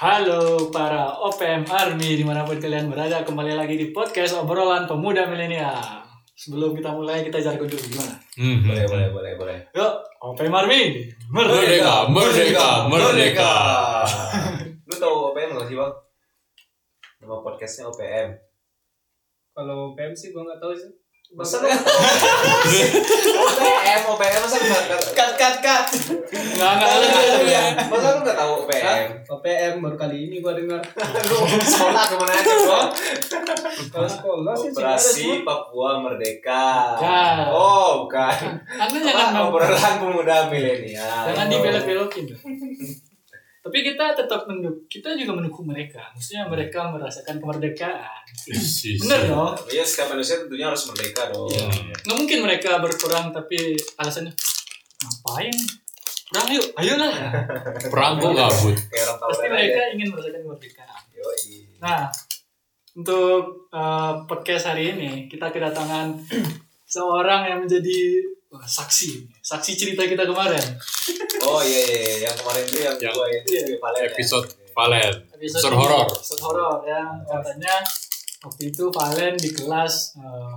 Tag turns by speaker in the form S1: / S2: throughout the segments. S1: Halo para OPM Army dimanapun kalian berada kembali lagi di podcast obrolan pemuda milenial. Sebelum kita mulai kita jargon dulu gimana?
S2: Hmm.
S3: Boleh, boleh, boleh, boleh.
S1: Yuk OPM Army
S2: Merdeka, Ah,
S1: merdeka.
S2: merdeka, merdeka.
S3: Lu tahu OPM gak sih, Bang? Nama podcastnya OPM.
S4: Kalau PM sih gua nggak tahu sih.
S3: Masa lu nggak tahu? OPM, OPM, masa lu nggak tahu?
S4: Cut cut cut.
S1: Nggak nggak nggak.
S3: Masa lu nggak tahu OPM?
S4: OPM baru kali ini gua dengar.
S3: Lu sekolah kemana aja, Bang?
S4: Kalau sekolah sih sih ada
S3: Operasi
S4: semua.
S3: Papua Merdeka.
S1: Bukan.
S3: Oh, bukan.
S1: Anda jangan
S3: Apa,
S1: mem-
S3: Obrolan pemuda milenial.
S1: jangan dibelok-belokin. Tapi kita tetap menduk, kita juga mendukung mereka. Maksudnya mereka merasakan kemerdekaan.
S2: Isi, isi.
S1: Bener dong.
S3: Ya, setiap manusia tentunya harus merdeka dong.
S2: Iya.
S1: Nggak mungkin mereka berperang tapi alasannya ngapain? Perang yuk, ayolah.
S2: Perang kok gabut.
S3: Kayak
S1: Pasti
S3: orang tawuran aja.
S1: mereka ingin merasakan kemerdekaan.
S3: Yoi.
S1: Nah, untuk eh, podcast hari ini kita kedatangan seorang yang menjadi wah, saksi, saksi cerita kita kemarin.
S3: Oh iya iya iya. yang kemarin tuh yang,
S2: Yang-
S3: gua yang
S1: iya,
S3: di Valen ya.
S2: Episode Valen. Episode
S1: ini,
S2: horor.
S1: Episode horor yang katanya waktu itu Valen di kelas eh,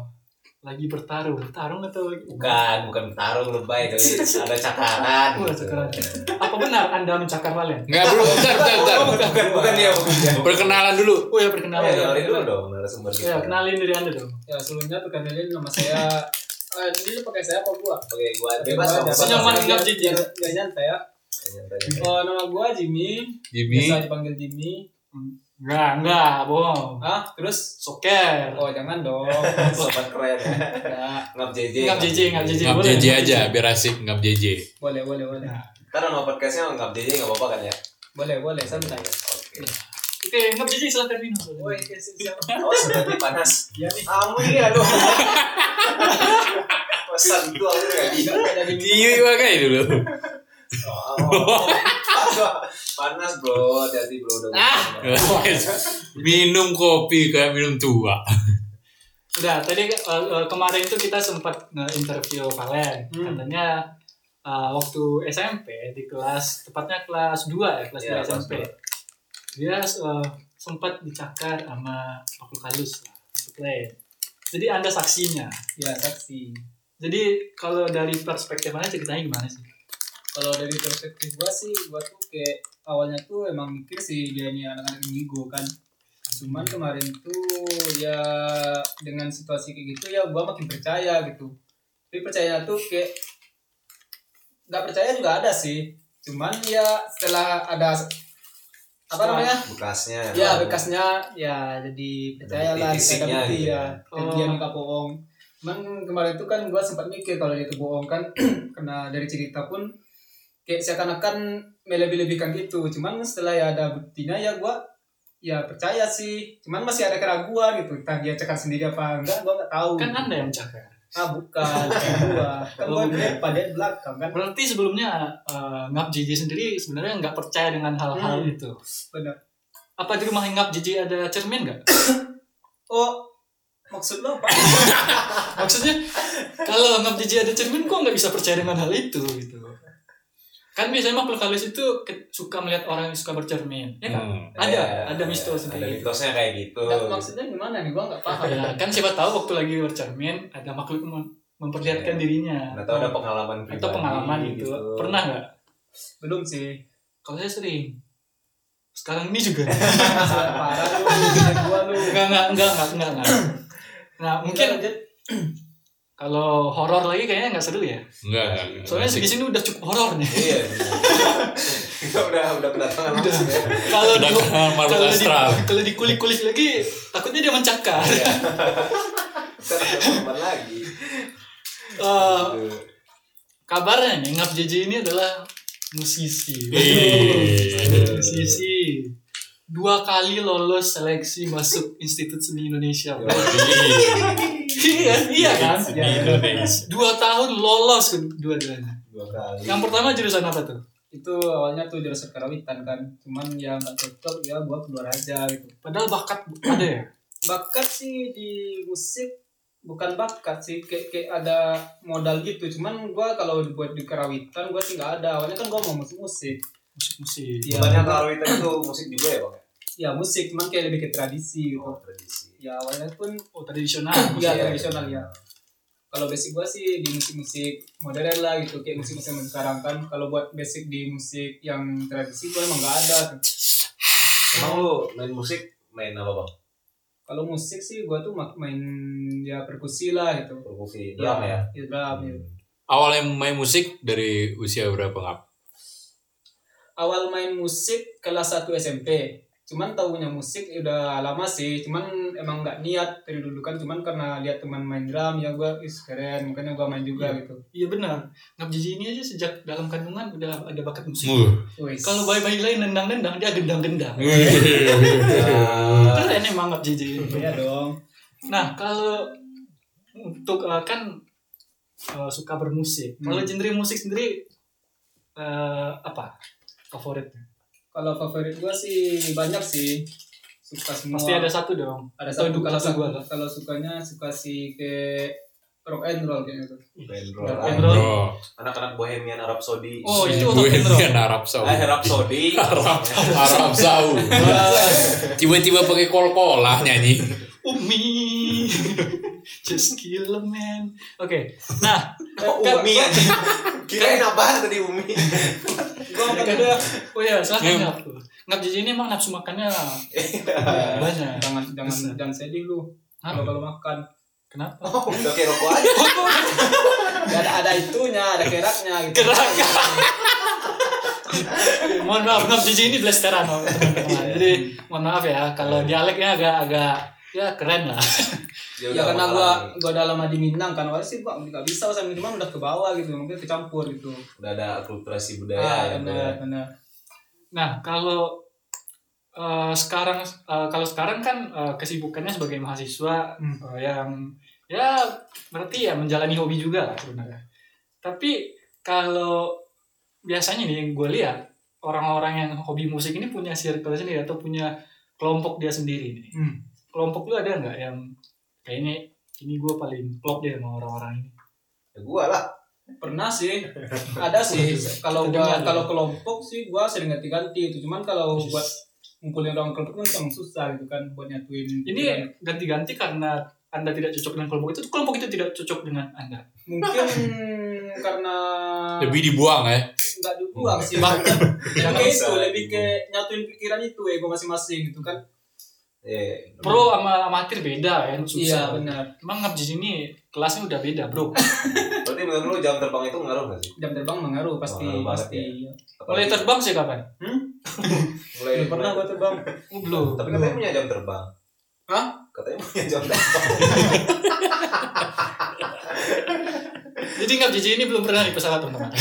S1: lagi bertarung, bertarung atau
S3: Bukan, bukan bertarung lebay tapi ada cakaran.
S1: Wah, cakaran.
S3: Iya,
S1: Apa benar Anda mencakar Valen?
S2: Enggak belum, bentar, bentar, bentar.
S3: Bukan bukan dia bukan dia.
S2: Perkenalan dulu.
S1: Oh ya
S3: Nah,
S1: perkenalan.
S3: ya, kenalin dulu dong narasumber kita.
S1: Ya, kenalin diri Anda dong.
S4: Ya sebelumnya perkenalin nama saya. Eh, Jadi lu pakai saya apa gua?
S3: Oke, gua bebas dong.
S1: Bebas. Senyaman
S4: nggak
S1: nggak jijik.
S4: Gak nyantai ya. Oh, nama gua Jimmy.
S2: Jimmy.
S4: Biasa dipanggil Jimmy.
S1: Enggak, enggak, bohong.
S4: Ah, terus?
S1: Soker.
S4: Oh jangan dong.
S3: Sobat keren. ya.
S4: Ya,
S3: Ngap JJ.
S1: Ngap JJ, ngap JJ.
S2: Ngap
S1: boleh.
S2: JJ aja biar asik ngap JJ.
S4: boleh boleh boleh.
S1: Nah,
S3: Ntar nama podcastnya ngap JJ nggak apa-apa kan ya?
S4: Boleh boleh santai.
S3: Oke.
S1: Oke, ngap JJ silakan minum.
S4: Woi,
S3: iya
S4: ya, siap, siap.
S3: Awas nanti Oh, panas.
S4: Iya nih.
S3: Amu ya dong. Pesan tuh aku nggak bisa.
S4: Jangan ada di
S2: Iya, iya kayak dulu.
S3: Oh, panas bro, hati-hati bro udah. Ah.
S2: minum kopi kayak minum tua.
S1: Udah, tadi eh, eh, kemarin itu kita sempat nge-interview Valen.
S4: Hmm.
S1: Katanya eh, waktu SMP di kelas tepatnya kelas 2 ya, kelas
S3: Iya,
S1: 2
S3: kelas
S1: SMP. Dia eh, sempat dicakar sama makhluk halus lah, makhluk lain. Jadi Anda saksinya.
S4: Ya saksi.
S1: Jadi kalau dari perspektif Anda ceritanya gimana sih?
S4: kalau dari perspektif gua sih gua tuh kayak awalnya tuh emang mikir sih dia ini anak-anak indigo kan cuman kemarin tuh ya dengan situasi kayak gitu ya gua makin percaya gitu tapi percaya tuh kayak nggak percaya juga ada sih cuman ya setelah ada apa namanya
S3: Bekasnya. Iya.
S4: ya bekasnya ya jadi percayalah
S3: bukti
S4: kita
S3: fisiknya
S4: ada bukti
S3: gitu
S4: ya Dan dia
S1: Oh.
S4: nggak bohong cuman kemarin itu kan gua sempat mikir kalau dia itu bohong kan karena dari cerita pun kayak seakan-akan melebih-lebihkan gitu cuman setelah ya ada buktinya ya gua ya percaya sih cuman masih ada keraguan gitu entah dia cekak sendiri apa enggak gua nggak tahu
S1: Kan Anda yang mencakar.
S4: ah bukan bukan gua kan gua
S1: Oh,
S4: di depan dia di belakang kan
S1: Berarti sebelumnya eh, Ngap JJ sendiri sebenarnya nggak percaya dengan hal-hal
S4: Hmm.
S1: itu.
S4: benar
S1: Apa di rumah Ngap JJ ada cermin nggak?
S4: oh maksud lo apa
S1: maksudnya kalau anggap jijik ada cermin kok nggak bisa percaya dengan hal itu gitu kan biasanya makhluk halus itu ke- suka melihat orang yang suka bercermin ya kan
S2: Hmm.
S1: ada
S3: Ya,
S1: ada mistos
S3: Ada
S1: sendiri
S3: mitosnya kayak gitu.
S4: Nggak, maksudnya gimana nih gua nggak paham
S1: ya, kan siapa tahu waktu lagi bercermin ada makhluk mem- memperlihatkan
S3: Ya.
S1: dirinya
S3: Nggak tahu ada pengalaman pribadi.
S1: atau pengalaman gitu. pernah nggak
S4: belum sih
S1: kalau saya sering sekarang ini juga
S4: parah lu gila gua lu
S1: nggak nggak nggak nggak nggak nggak. nah mungkin
S4: lanjut
S1: kalau horor lagi kayaknya nggak seru ya
S2: Enggak, enggak, enggak.
S1: soalnya di
S2: Asik.
S1: sini udah cukup horor nih
S3: Iya. Kita udah udah kedatangan langsung ya.
S1: kalau
S2: Udah
S1: di
S2: kenal makhluk
S1: kalau di
S2: astral.
S1: kalau dikulik-kulik lagi takutnya dia mencakar
S3: Iya. Kita ada pengalaman lagi. Gitu.
S1: Eh, kabarnya nih Ngap JJ ini adalah musisi
S2: Iya. Ih.
S1: musisi dua kali lolos seleksi masuk Institut Seni Indonesia
S3: Yo,
S1: iya iya kan
S2: Di Indonesia.
S1: dua tahun lolos kedua-duanya
S3: Dua kali.
S1: yang pertama jurusan apa tuh
S4: itu awalnya tuh jurusan karawitan kan cuman ya nggak cocok ya gua keluar aja gitu
S1: padahal bakat ada ya
S4: bakat sih di musik bukan bakat sih kayak, kayak ada modal gitu cuman gua kalau buat di karawitan gua sih nggak ada awalnya kan gua mau musik musik
S1: musik musik
S4: Iya.
S3: Bukannya karawitan itu musik juga ya bang?
S4: ya musik cuman kayak lebih ke tradisi gitu
S3: Oh, tradisi.
S4: ya awalnya pun
S1: oh tradisional
S4: Iya,
S1: musik.
S4: tradisional, ya. kalau basic gua sih di musik-musik modern lah gitu kayak musik-musik yang sekarang kan kalau buat basic di musik yang tradisi gua emang nggak ada
S3: Emang lu main musik main apa bang?
S4: kalau musik sih gua tuh ma- main ya perkusi lah gitu
S3: Perkusi drum ya?
S4: ya drum ya.
S3: Hmm.
S2: Awalnya main musik dari usia berapa ngap?
S4: awal main musik kelas 1 SMP cuman tahunya musik ya udah lama sih cuman emang nggak niat dari dulu kan cuman karena lihat teman main drum ya gua is keren makanya gua main juga gitu
S1: iya benar ngap jiji ini aja sejak dalam kandungan udah ada bakat musik
S2: Wuh.
S4: Wis.
S1: kalau bayi-bayi lain nendang-nendang dia gendang-gendang
S3: Ah,
S1: keren emang ngap jiji ini
S4: iya dong
S1: Nah, kalau untuk eh, kan eh, suka bermusik.
S4: Hmm.
S1: Kalau genre musik sendiri eh, apa? Favoritnya.
S4: kalau favorit gua sih banyak sih suka semua
S1: Pasti ada satu dong.
S4: ada
S1: atau
S4: satu
S1: dua-
S4: kalau
S1: satu
S4: satu
S1: dua lah.
S4: kalau sukanya suka si ke rock and roll kayak gitu
S3: band
S4: Rock
S3: rock.
S4: and
S1: roll.
S2: Bro.
S3: Anak-anak Bohemian Arab Saudi.
S1: Oh, itu
S2: Gue
S1: otak intro.
S2: kan Arab Saudi.
S3: Ah, Arab Saudi. Iya.
S2: Arab, Arab Saudi. Tiba-tiba pakai kol-kolah nyanyi.
S1: Umi. Just kill a man. Oke. Nah,
S3: Oh,
S4: Eh, Kan
S3: Umi aja. Kirain apaan tadi Umi?
S1: gua makan ada. Oh iya, silakan ngap. Ngap jadi ini emang nafsu makannya banyak.
S4: jangan jangan
S1: Bisa.
S4: jangan sedih lu
S1: Hah?
S4: kalau kalau makan
S1: Kenapa?
S3: Oh, udah kayak rokok aja.
S4: Ya, ada ada itunya ada keraknya gitu
S1: Gerak. Oh, mohon maaf, Ngap Jiji ini blasteran. teman-teman. Jadi mohon maaf ya kalau dialeknya agak-agak ya keren lah.
S4: ya karena gua gua udah lama di Minang kan awalnya sih gua nggak bisa bahasa Minang udah ke bawah gitu mungkin kecampur gitu
S3: udah ada akulturasi
S4: ah
S3: budaya. ya,
S4: benar benar
S1: Nah, kalau eh, sekarang eh, kalau sekarang kan eh, kesibukannya sebagai mahasiswa
S4: Hmm.
S1: eh, yang ya berarti ya menjalani hobi juga lah sebenarnya. Tapi kalau biasanya nih yang gue lihat orang-orang yang hobi musik ini punya circle sendiri atau punya kelompok dia sendiri nih.
S4: Hmm.
S1: Kelompok lu ada nggak yang kayaknya ini gue paling klop deh sama orang-orang ini.
S3: Ya, gua lah.
S4: pernah sih ada sih kalau gua
S1: Terdengar.
S4: kalau kelompok sih gua sering ganti-ganti itu cuman kalau Oh, buat ngumpulin orang kelompok kan emang susah gitu kan buat nyatuin
S1: Ini ganti-ganti karena anda tidak cocok dengan kelompok itu, kelompok itu tidak cocok dengan anda.
S4: mungkin karena
S2: Lebih dibuang ya.
S4: nggak dibuang sih
S1: Bang.
S4: yang
S3: Nggak
S4: kayak
S3: bisa.
S4: itu lebih ke nyatuin pikiran itu ego masing-masing gitu kan
S3: Eh,
S1: Pro sama amatir beda kan susah.
S4: iya benar
S1: Emang ngabjis ini kelasnya udah beda bro.
S3: Berarti menurut lu jam terbang itu ngaruh gak sih?
S4: jam terbang mengaruh pasti
S3: Mengaruh banget ya.
S4: pasti
S1: Mulai terbang sih kapan?
S3: mulai
S4: Belum pernah gua terbang
S1: Oh, belum.
S3: Tapi katanya punya jam terbang.
S4: Hah?
S3: Katanya punya jam terbang.
S1: Jadi ngabjis ini belum pernah di pesawat teman-teman.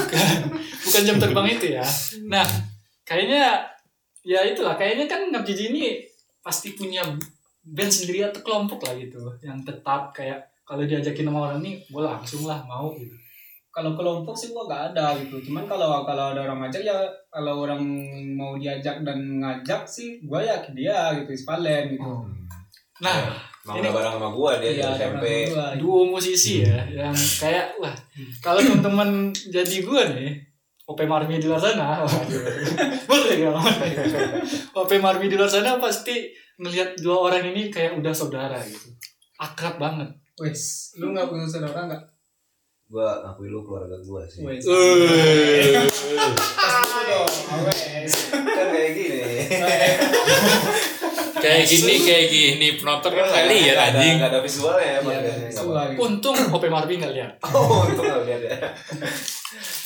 S1: Bukan- Bukan jam terbang itu ya. Nah, kayaknya ya itulah. Kayaknya kan ngabjis ini pasti punya band sendiri atau kelompok lah gitu yang tetap kayak kalau diajakin sama orang ini gue langsung lah mau gitu.
S4: kalau kelompok sih gua nggak ada gitu cuman kalau kalau ada orang ngajak ya kalau orang mau diajak dan ngajak sih gua yakin dia gitu ispalen
S3: Oh,
S4: gitu
S1: Nah,
S3: Emang
S1: ini-
S3: udah bareng sama gua dia dari
S4: Iya,
S3: SMP.
S4: orang tua.
S1: duo musisi ya
S4: Hmm.
S1: yang kayak wah kalau teman-teman jadi gue nih OP Marmi di luar sana waduh. boleh ya OP Marmi di luar sana pasti ngelihat dua orang ini kayak udah saudara gitu akrab banget
S4: Wes, lu nggak punya saudara nggak?
S3: Gua ngakui lu keluarga gua sih.
S4: Wes.
S2: Eh.
S4: Pasti dong, awes.
S3: Kan kayak gini.
S2: Kayak gini, kayak gini. Penonton
S3: Iya,
S2: kan kali ya
S3: Nggak ada-
S2: anjing.
S3: nggak ada visualnya ya.
S4: Iya,
S3: makanya nggak
S4: suka gitu.
S1: untung OP Marmi nggak lihat
S3: Oh, untung nggak lihat ya.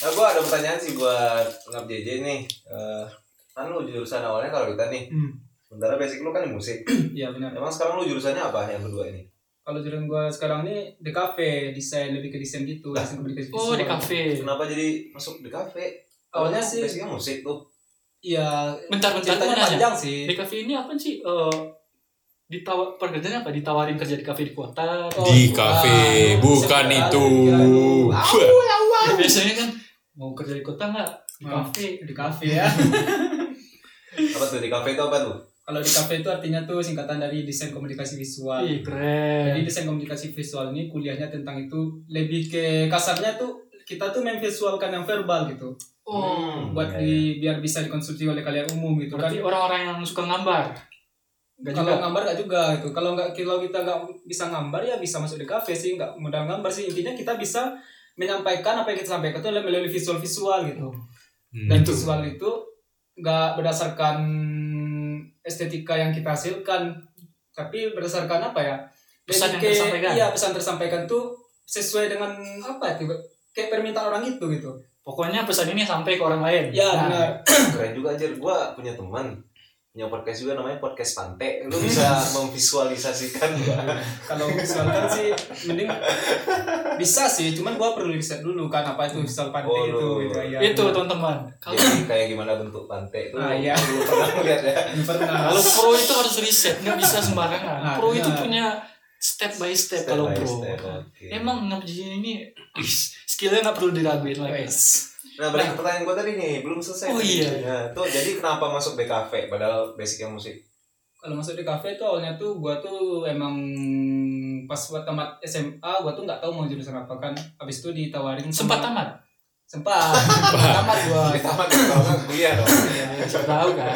S3: Nah, gue ada pertanyaan sih buat Ngap JJ nih. Eh, kan lu jurusan awalnya kalau kita nih,
S4: Hmm,
S3: sementara basic lu kan di musik.
S4: Iya benar.
S3: Emang sekarang lu jurusannya apa yang kedua ini?
S4: Kalau jurusan gua sekarang nih di kafe, desain lebih ke desain gitu,
S3: Nah.
S4: desain komunikasi.
S1: oh di
S4: visual.
S1: kafe
S3: Kenapa jadi masuk di kafe?
S4: Awalnya sih-
S3: basicnya musik tuh.
S4: Iya.
S1: bentar-bentar
S4: Ceritanya
S1: gua nanya.
S4: panjang sih.
S1: di kafe ini apa sih Eh ditawar pekerjaannya apa ditawarin kerja di kafe di kota
S4: Oh,
S2: Di kafe,
S4: ah,
S2: bukan
S4: bisa
S2: itu.
S4: kepikiran.
S2: Wah.
S1: biasanya kan mau kerja di kota nggak di
S4: Ah.
S1: kafe
S4: Di kafe ya.
S3: Apa tuh di kafe itu apa tuh?
S4: kalau di kafe itu artinya tuh singkatan dari desain komunikasi visual
S1: Ih, keren.
S4: jadi desain komunikasi visual ini kuliahnya tentang itu lebih ke kasarnya tuh kita tuh memvisualkan yang verbal gitu
S1: oh.
S3: Iya,
S4: buat di biar bisa dikonsumsi oleh kalian umum gitu kan
S1: Berarti orang-orang yang suka gambar. Enggak juga.
S4: kalau gambar nggak juga gitu kalau nggak kalau kita nggak bisa gambar ya bisa masuk di kafe sih nggak modal gambar sih intinya kita bisa menyampaikan apa yang kita sampaikan itu melalui visual visual gitu dan
S1: Itu.
S4: visual itu nggak berdasarkan estetika yang kita hasilkan tapi berdasarkan apa ya
S1: Pesan yang
S4: Jadi kayak-
S1: tersampaikan.
S4: iya pesan tersampaikan tuh sesuai dengan apa itu kayak permintaan orang itu gitu
S1: Pokoknya pesan ini sampai ke orang lain.
S4: ya
S1: Nah,
S4: benar
S3: iya. keren juga anjir gua punya teman punya podcast juga namanya podcast pantai lu bisa memvisualisasikan gak?
S4: kalau visual kan sih mending bisa sih cuman gua perlu riset dulu kan apa itu visual pantai
S3: Oh,
S4: itu
S3: lu-
S4: gitu ya
S1: Itu teman-teman. Ya. Kalau
S3: Jadi kayak gimana bentuk pantai itu
S4: Ah, iya.
S3: lu pernah ngeliat ya
S4: pernah
S1: kalau pro itu harus riset, nggak bisa sembarangan.
S4: Nah,
S1: Pro itu
S4: benar.
S1: punya step by step,
S3: Step
S1: kalau
S3: by
S1: pro.
S3: step, oke.
S1: Emang ngebjin ini ih, skillnya nggak perlu diraguin lagi.
S4: Wes.
S3: Nah, balik ke pertanyaan gue tadi nih, belum selesai.
S1: Oh,
S3: nih.
S1: iya.
S3: Nah, tuh jadi kenapa masuk BKV padahal basicnya musik?
S4: kalau masuk di kafe tuh awalnya tuh gua tuh emang pas buat tamat SMA gua tuh nggak tahu mau jurusan apa kan habis itu ditawarin
S1: Sempat
S4: sama-
S1: tamat.
S4: sempat tamat gua
S3: Di taman kalau nggak kuliah dong.
S1: Ya, siapa tahu kan.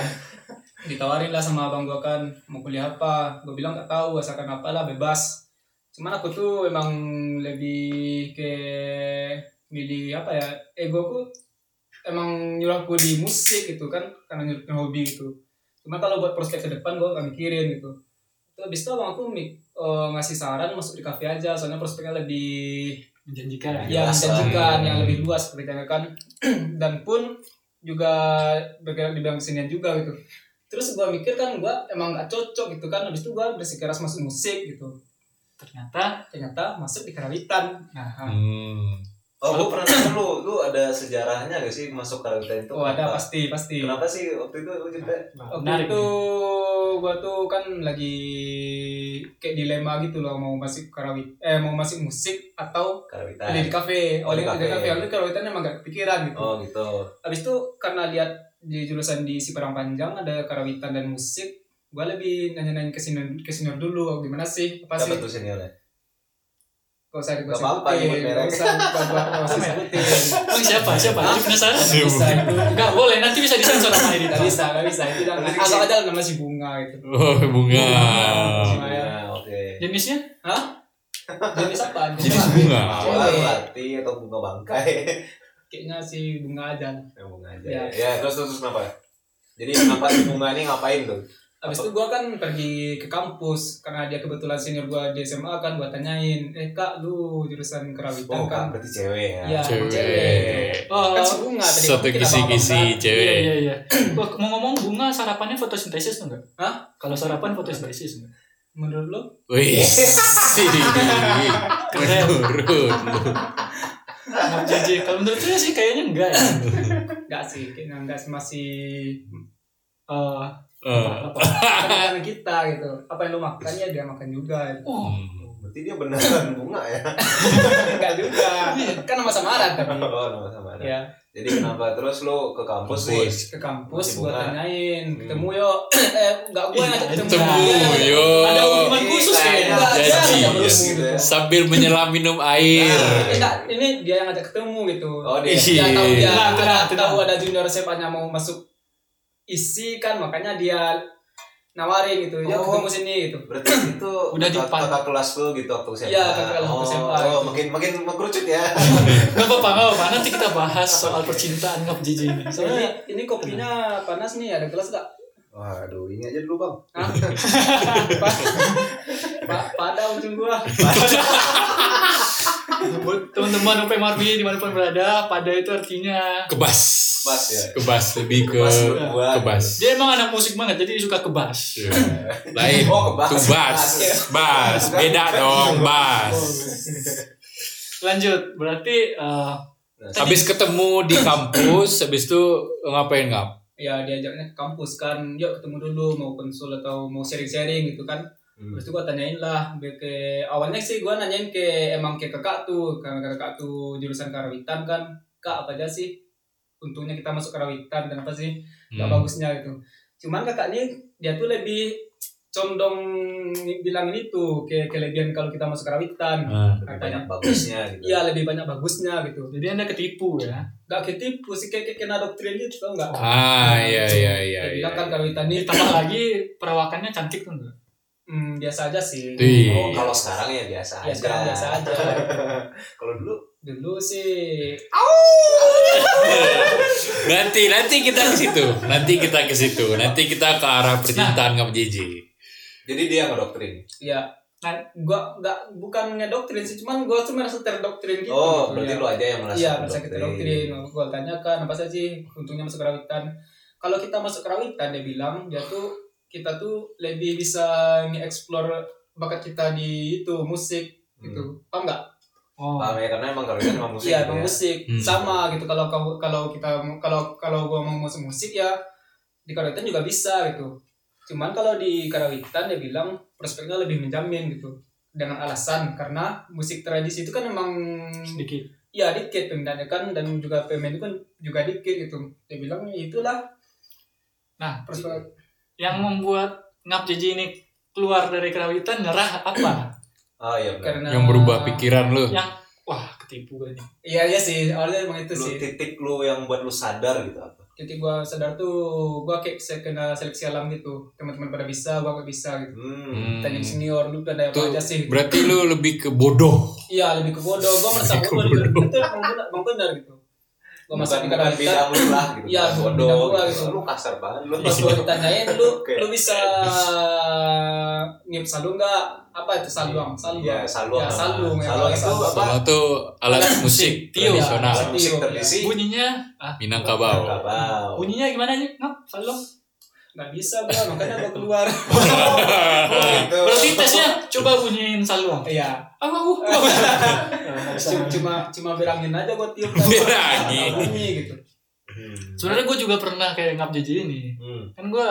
S4: ditawarin lah sama abang gua kan mau kuliah apa gua bilang nggak tahu asalkan apa lah bebas cuman aku tuh emang lebih ke milih apa ya ego ku emang nyuruh aku di musik gitu kan karena nyuruh hobi gitu cuma kalau buat prospek ke depan gua nggak mikirin gitu Terus habis itu abang aku mi- eh, ngasih saran masuk di kafe aja soalnya prospeknya lebih
S1: Menjanjikan.
S4: yang
S3: Luas lah.
S4: menjanjikan yang lebih luas perbedaan kan dan pun juga bergerak di bidang kesenian juga gitu terus gua mikir kan gua emang gak cocok gitu kan habis itu gua bersikeras masuk musik gitu
S1: Ternyata
S4: ternyata masuk di karawitan nah
S2: Hmm.
S3: Oh, gue pernah nanya lu, lu ada sejarahnya gak sih masuk karantina itu?
S4: oh ada
S3: kenapa?
S4: pasti pasti
S3: Kenapa sih waktu itu lu cerita?
S1: nah,
S4: waktu
S1: menarik.
S4: itu
S1: nih.
S4: gua tuh kan lagi kayak dilema gitu loh mau masuk karawit eh mau masuk musik atau
S3: Karantina.
S4: kuliah di kafe
S3: Oh,
S4: oleh
S3: di
S4: di
S3: kafe.
S4: kafe oleh karawitan emang gak kepikiran gitu
S3: Oh gitu.
S4: Habis itu karena lihat di jurusan di Siparang Panjang ada karawitan dan musik, gua lebih nanya-nanya ke senior, ke senior dulu "Oh, gimana sih? Apa
S3: Siapa
S4: sih?
S3: tuh seniornya?
S4: Gak usah gua
S3: Gak apa-apa, nyebut
S4: sebutin,
S3: merek.
S4: gak usah gua gua gak usah sebutin.
S1: Bang, Oh, siapa? Siapa? Jadi penasaran.
S4: Gak bisa itu.
S1: Enggak boleh, nanti bisa disensor sama
S4: Gak
S1: editor.
S4: bisa, gak bisa. Itu jangan.
S3: Nanti
S4: Asal
S3: dikasih.
S4: aja nama si bunga gitu.
S2: Oh, bunga.
S4: Bunga.
S3: Nah, oke.
S1: Jenisnya?
S4: Hah? Jenis apa?
S2: Jenis bunga.
S4: Iya.
S3: Awal hati atau bunga bangkai?
S4: Kayaknya si bunga aja.
S3: Ya, bunga aja.
S4: Ya.
S3: Ya, terus terus kenapa? Jadi kenapa si bunga ini ngapain tuh?
S4: Habis itu gua kan pergi ke kampus karena dia kebetulan senior gua di SMA kan gua tanyain, "Eh Kak, lu jurusan karawitan
S3: Oh, kan
S4: kan?"
S3: berarti cewek ya.
S4: Iya,
S2: Cewek.
S1: Oh,
S4: Kan si bunga tadi.
S2: Satu
S4: Kita paham,
S2: kisi-kisi
S4: kan?
S1: Iya
S2: cewek.
S1: iya iya. Wah, mau ngomong bunga sarapannya fotosintesis tuh enggak?
S4: Hah?
S1: Kalau sarapan fotosintesis enggak?
S4: Menurut lu?
S2: Wih. Menurun.
S1: Nah, JJ, kalau menurut saya sih kayaknya enggak ya.
S4: Enggak sih, kayaknya enggak sih, masih
S1: Eh,
S2: Eh,
S1: apa?
S4: makanan kita gitu. Apa yang lu makan ya dia makan juga. gitu.
S1: Oh,
S3: Hmm. Berarti dia beneran bunga ya?
S4: Enggak juga. Kan sama samaran
S3: Oh,
S4: tapi.
S3: nama sama ada.
S4: Ya,
S3: Jadi kenapa terus lu ke kampus nih?
S2: Kampus.
S4: ke kampus
S3: Masih
S4: gua
S3: bunga.
S4: tanyain,
S3: Hmm.
S4: ketemu yo. eh, enggak gua
S1: Ih,
S4: yang ketemu.
S2: Ketemu
S4: Iya,
S2: yo.
S1: Ada hubungan
S3: Ini
S4: ya?
S1: khusus
S3: kayaknya
S1: kayaknya.
S4: Enggak, dia yang
S2: Janji,
S4: ajak ketemu
S2: yes.
S4: gitu.
S3: ya.
S2: Sambil menyelam minum air.
S4: Enggak, ini dia yang ajak ketemu gitu.
S3: Oh, dia.
S2: Ih.
S4: Dia tahu dia
S1: Tenang, tenang,
S4: ada,
S1: tenang.
S4: tahu ada junior sepanya mau masuk isi kan makanya dia nawarin gitu. Ya
S3: Oh.
S4: ketemu sini gitu.
S3: Berarti itu
S1: Udah
S3: kakak,
S1: dipan-
S3: kakak kelas lu gitu waktu SMA.
S4: Iya, kakak kelas waktu
S3: oh,
S4: SMA.
S3: Oh, makin makin mengerucut ya.
S1: enggak apa-apa, enggak apa-apa. Nanti kita bahas soal percintaan Ngap JJ ini.
S4: Soalnya
S1: Soalnya
S4: ini kopinya panas nih, ada gelas gak?
S3: Waduh, ini aja dulu, Bang.
S4: Hah? Pa- pada ujung gua.
S1: buat teman-teman OP Marbi dimanapun berada, pada itu artinya
S2: Kebas.
S3: Kebas, ya.
S2: Kebas lebih ke
S3: Kebas menurut gua.
S2: kebas.
S1: dia emang anak musik banget, jadi suka kebas.
S2: Iya. Lain.
S3: Oh, kebas.
S2: Tuh bas. Bas. Beda dong, bas.
S1: Lanjut, berarti eh,
S3: Nah,
S1: tadi-
S2: Habis ketemu di kampus, habis itu ngapain ngap?
S4: Ya diajaknya ke kampus kan, yuk ketemu dulu mau konsul atau mau sharing-sharing gitu kan.
S3: Hmm.
S4: Terus tuh gua tanyain lah biar ke awalnya sih gua nanyain ke emang ke kakak tuh, karena kakak tuh jurusan karawitan kan. Kak apa aja sih? Untungnya kita masuk karawitan dan apa sih? Gak
S2: Hmm.
S4: bagusnya gitu. cuman kakaknya dia tuh lebih condong bilang itu ke kelebihan kalau kita masuk karawitan
S2: Ah.
S3: Lebih banyak bagusnya gitu
S4: iya lebih banyak bagusnya gitu
S1: Jadi anda ketipu ya.
S4: gak ketipu sih kayak kayak kena doktrin gitu tau nggak
S2: Ah, iya iya iya.
S4: Dia
S2: iya.
S4: bilang kan karawitan ini
S1: Ditambah lagi perawakannya cantik tuh. nggak?
S4: hmm, biasa aja sih
S2: Ih.
S3: Oh, kalau sekarang ya biasa
S4: ya sekarang
S3: aja.
S4: biasa aja
S3: Kalau dulu
S4: dulu sih
S2: Nanti nanti kita ke situ. Nanti kita ke situ. Nanti kita ke arah percintaan nggak Jiji.
S3: jadi dia ngedoktrin.
S4: ya nah, gua nggak bukan ngedoktrin sih cuman gua tuh merasa terdoktrin gitu
S3: Oh,
S4: gitu,
S3: berarti
S4: ya.
S3: lu aja yang merasa
S4: Iya, merasa kita doktrin. Gue tanyakan apa saja sih untungnya masuk kerawitan. Kalau kita masuk kerawitan dia bilang dia tuh kita tuh lebih bisa nge-explore bakat kita di itu musik gitu. Paham nggak?
S1: Oh.
S3: Hmm. Paham ya, karena emang karawitan emang musik.
S4: Iya,
S3: gitu
S4: emang
S3: ya.
S4: musik.
S2: Hmm.
S4: Sama gitu kalau kau- kalau kita kalau kalau gua mau masuk musik ya di karawitan juga bisa gitu. Cuman kalau di karawitan dia bilang prospeknya lebih menjamin gitu dengan alasan karena musik tradisi itu kan emang
S1: Sedikit.
S4: ya dikit pemindahannya kan dan juga pemain kan juga dikit gitu dia bilang "Ya, itulah
S1: Nah,
S4: perspektif
S1: yang membuat ngap jiji ini keluar dari kerawitan nyerah apa?
S3: Oh iya benar.
S4: karena
S2: Yang berubah pikiran lu.
S1: yang wah ketipu gue nih.
S4: iya iya sih awalnya emang itu
S3: Lu
S4: sih
S3: titik lu yang buat lu sadar gitu apa?
S4: titik gua sadar tuh gua kayak se- kena seleksi alam gitu teman-teman pada bisa gua gak bisa gitu
S3: Hmm.
S4: tanya senior lu pada apa
S2: Tuh.
S4: aja sih gitu.
S2: Berarti lu lebih ke bodoh.
S4: iya lebih ke bodoh gua merasa
S2: Lebih ke
S4: bodoh gitu itu emang benar emang benar gitu gua
S3: Bukan,
S4: merasa di
S3: bukan
S4: karawitan
S3: bidang lu lah gitu.
S4: Iya,
S3: Bukan
S4: bukan
S3: bodoh
S4: bidang gua
S3: gitu.
S4: gitu.
S3: Lu kasar banget lu.
S4: pas gua ditanyain lu
S3: Oke.
S4: lu bisa ngip salung nggak apa itu saluang saluang
S3: Iya, saluang.
S4: Ya, salung. Ya,
S3: Saluang itu
S4: kalau
S3: apa?
S2: Soalnya tuh alat musik
S1: Tio.
S2: tradisional
S3: Musik
S4: Iya.
S3: tradisi.
S1: Bunyinya ah,
S2: Minangkabau.
S3: Kabau.
S1: bunyinya gimana sih? Ngap salam.
S4: nggak bisa gua makanya gua keluar
S1: Berarti tesnya coba bunyiin saluang.
S4: iya
S1: Ah, aku.
S4: cuma cuma cuma berangin aja gua tiup
S2: Berangin.
S4: Nggak bunyi gitu
S3: Hmm.
S1: Sebenarnya gue juga pernah kayak ngap jiji ini.
S3: Hmm.
S1: Kan gue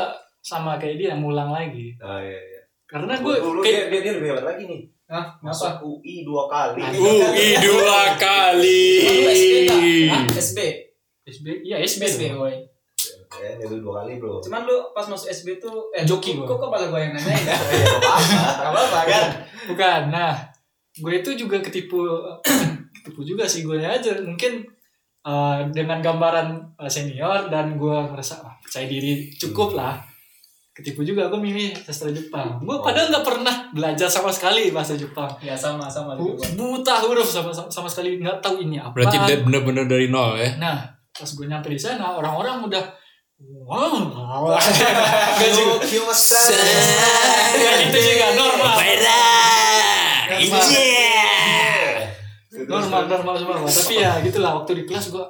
S1: sama kayak dia ngulang lagi.
S3: Oh iya iya.
S1: Karena gue
S3: Dulu
S1: Kan kayak
S3: dia dia dia lebih hebat lagi nih.
S4: Hah, kenapa
S3: Masuk UI dua kali. Iya, kan?
S2: UI dua
S4: Baru
S2: kali.
S4: SB nggak? Hah, SB
S1: SB, iya
S4: SB
S1: SB,
S4: SB
S1: dong.
S4: woy.
S3: Ya, dia dulu dua kali bro.
S4: cuman lu pas masuk SB tuh eh
S1: Joki
S4: kok
S1: gua.
S4: kok kok malah gua yang nanya ya
S3: Ya, gak apa-apa.
S4: nggak apa-apa kan
S1: Bukan. Nah, gue itu juga ketipu ketipu juga sih gue aja. Mungkin eh, dengan gambaran eh, senior dan gue merasa "Ah, percaya diri cukup lah. Ketipu juga gue milih sastra Jepang. Gue padahal nggak pernah belajar sama sekali bahasa Jepang.
S4: ya sama sama
S1: Bu-
S4: gitu gua.
S1: Buta huruf sama sama, sama sekali nggak tahu ini apa.
S2: Berarti dia bener-bener dari nol ya.
S1: Nah, pas gue nyampe di sana orang-orang udah wow. Gak juga. Gak gitu juga normal.
S2: Merah.
S1: Normal.
S2: Iya.
S1: normal normal semua tapi ya gitulah waktu di kelas gua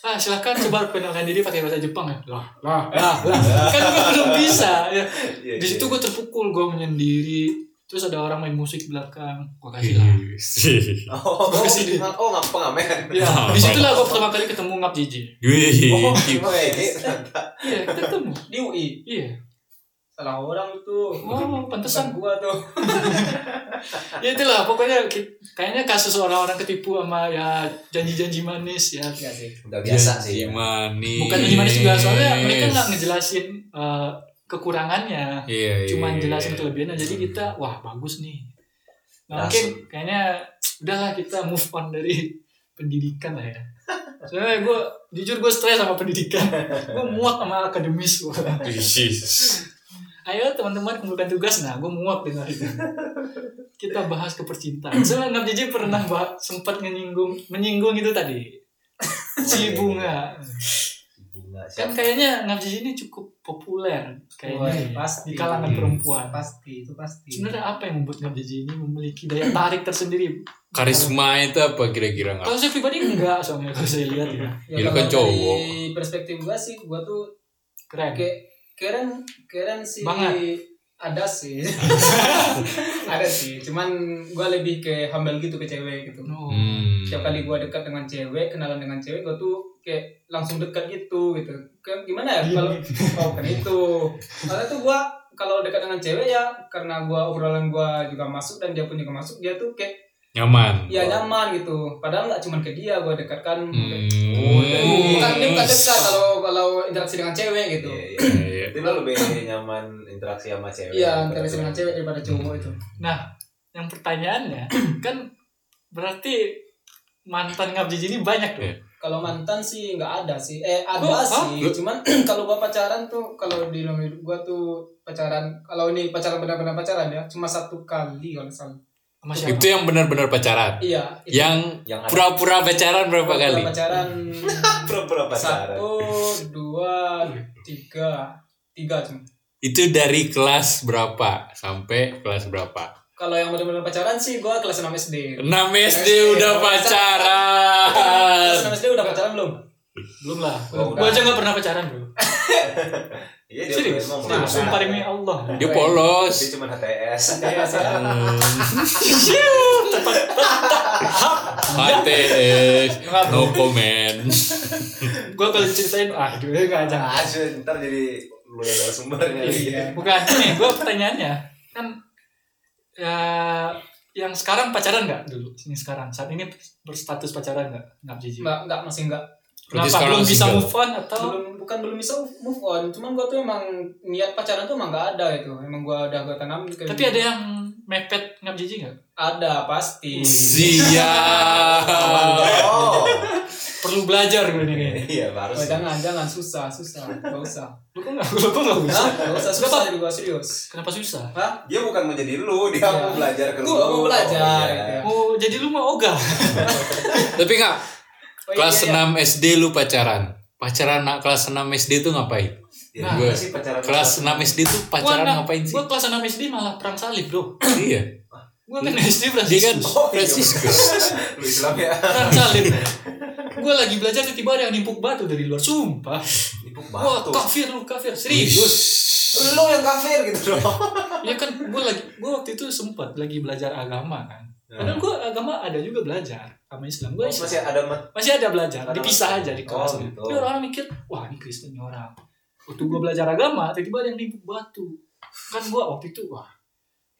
S1: ah silahkan coba perkenalkan diri pakai bahasa Jepang ya lah lah lah lah kan gua belum bisa ya.
S3: Iya,
S1: di situ gua terpukul gua menyendiri terus ada orang main musik di belakang gua
S2: Iya.
S1: kasih lah
S3: Oh,
S1: Gua kesini.
S3: oh, oh, nggak pengamen.
S1: ya di situlah gua pertama kali ketemu ngap jiji
S3: Oh,
S2: Wih.
S3: gimana ya? Ki?
S1: iya kita ketemu
S4: di UI
S1: iya
S4: salah orang lu tuh
S1: oh
S4: pesan
S1: pantesan
S4: gua tuh
S1: ya itulah pokoknya ki- kayaknya kasus orang-orang ketipu sama ya janji-janji manis ya
S4: Iya sih
S3: Udah biasa
S2: Janji
S1: Iya,
S3: sih. ya.
S2: manis.
S1: bukan janji manis juga soalnya mereka nggak ngejelasin eh, kekurangannya
S2: Iya, iya,
S1: cuman jelasin
S2: iya.
S1: kelebihannya jadi kita wah bagus nih nah,
S3: Langsung.
S1: mungkin kayaknya udahlah kita move on dari pendidikan lah ya soalnya gue jujur gue stres sama pendidikan gue muak sama akademis gua.
S2: Yesus.
S1: ayo teman-teman kumpulkan tugas nah gue muak dengar itu kita bahas ke percintaan soalnya Ngap Jiji pernah bah- sempat menyinggung menyinggung itu tadi
S3: Iya,
S1: si bunga
S3: Bunga
S1: kan
S3: iya. siapa?
S1: kayaknya Ngap Jiji ini cukup populer
S4: Woy,
S1: kayaknya ya,
S4: pasti
S1: Iya.
S4: Iya.
S1: di kalangan
S2: Hmm.
S1: perempuan
S4: pasti itu pasti
S1: sebenarnya apa yang membuat Ngap Jiji ini memiliki daya tarik tersendiri?
S2: Karisma itu apa kira-kira nggak?
S1: Kalau saya pribadi enggak soalnya kalau saya lihat ya
S2: Ya, lu
S4: kalau
S2: kan cowok.
S4: dari perspektif gua sih gua tuh
S1: keren.
S4: Oke, keren keren sih
S1: Banget.
S4: ada sih. ada sih, cuman gua lebih ke humble gitu ke cewek gitu.
S1: No.
S2: Hmm.
S4: Setiap kali gua dekat dengan cewek, kenalan dengan cewek, gua tuh kayak langsung dekat gitu gitu. Kayak gimana ya kalau
S1: Iya.
S4: oh, kan itu. Karena tuh gua kalau dekat dengan cewek ya karena gua obrolan gua juga masuk dan dia pun juga masuk, dia tuh kayak
S2: Nyaman.
S4: ya nyaman gitu. Padahal nggak cuman ke dia gua dekatkan
S2: Hmm.
S4: Bukan dia bukan dekat kalau kalau interaksi dengan cewek gitu
S3: Iya, iya.
S2: Iya, iya.
S3: Berarti lo lebih nyaman interaksi sama cewek.
S4: iya interaksi dengan cewek daripada cowok
S2: Hmm.
S4: itu
S1: Nah, yang pertanyaannya kan berarti mantan ngabdi ini banyak tuh.
S2: Iya.
S4: kalau mantan sih nggak ada sih eh ada
S1: Gua-
S4: sih
S2: Lu-
S4: cuman kalau gua pacaran tuh kalau di dalam hidup gua tuh pacaran kalau ini pacaran benar-benar pacaran ya cuma satu kali kalau nggak salah
S1: Sama siapa?
S2: Itu yang benar-benar pacaran.
S4: iya itu.
S2: Yang
S3: Yang ada
S2: pura-pura pacaran berapa
S4: Kalau
S2: kali?
S4: pacaran
S3: pura-pura pacaran.
S4: satu dua tiga tiga cuma
S2: Itu dari kelas berapa sampai kelas berapa?
S4: kalau yang benar-benar pacaran sih gua kelas 6 SD
S2: 6 SD udah pacaran.
S4: kelas 6 SD kan udah pacaran belum
S1: Belum lah.
S4: Oh,
S1: Gua
S3: udah.
S1: aja gak pernah pacaran bro.
S3: Iya dia
S1: Serius?
S3: memang
S1: Serius.
S3: merasa.
S1: Sumpah demi Allah.
S2: Dia polos.
S3: Dia cuma HTS.
S4: Iya, sih.
S2: HTS no comment.
S1: Gua kalau ceritain, ah dulu gak ada.
S3: Ah, sih, ntar jadi lu yang sumbernya.
S1: Iya. Bukan nih, gue pertanyaannya kan ya, yang sekarang pacaran nggak dulu? Ini sekarang, saat ini berstatus pacaran nggak? Nggak jijik.
S4: nggak nggak masih nggak
S2: Berarti
S1: Kenapa
S2: sekarang
S1: belum bisa
S2: single.
S1: move on atau
S4: belum bukan belum bisa move on cuman gua tuh emang niat pacaran tuh emang nggak ada itu emang gua udah gua tanam kayak
S1: tapi ada yang mepet ngap jijik nggak?
S4: ada
S2: Oh,
S4: pasti
S2: Siap.
S3: Oh.
S1: Perlu belajar gue ini kayaknya.
S3: Iya, baru
S4: Oh,
S3: sih.
S4: jangan jangan susah susah gak usah
S1: Lu kok nggak? Lu kok nggak bisa?
S4: Hah? gak usah susah dari gua serius
S1: Kenapa susah?
S4: Hah?
S3: Dia bukan mau jadi lu, dia
S4: Iya.
S3: mau belajar ke lu.
S4: Gua mau belajar,
S3: Oh, iya.
S4: gitu.
S1: Oh, jadi lu mau ogah?
S2: Tapi nggak
S4: Oh, iya,
S2: kelas
S4: iya, iya.
S2: 6 SD lu pacaran. Pacaran anak kelas 6 SD tuh ngapain?
S3: Ya,
S1: Nah,
S3: gimana sih pacaran
S2: Kelas 6 SD tuh pacaran
S1: Gua anak-
S2: ngapain sih?
S1: Gua kelas 6 SD malah perang salib, Bro.
S2: Iya.
S1: Gua kan SD berarti
S2: Dia kan
S3: Oh, iya,
S2: Franciscus.
S3: lu Islam ya.
S1: perang salib. Gua lagi belajar tiba-tiba ada yang nimpuk batu dari luar. Sumpah.
S3: Nipuk
S1: Wah,
S3: batu.
S1: kafir lu, kafir. Serius.
S3: Lu yang kafir gitu loh.
S1: ya kan gue lagi gue waktu itu sempat lagi belajar agama kan padahal gue agama ada juga belajar sama Islam gue Islam.
S3: Ya. Nah, Oh, Masih ada mat
S1: masih ada belajar
S3: Ada-
S1: dipisah aja di
S3: Oh,
S1: kelas
S3: gitu.
S1: tapi orang-orang mikir wah ini Kristen nih orang waktu gue belajar agama tiba-tiba ada yang nipu batu kan gue waktu itu wah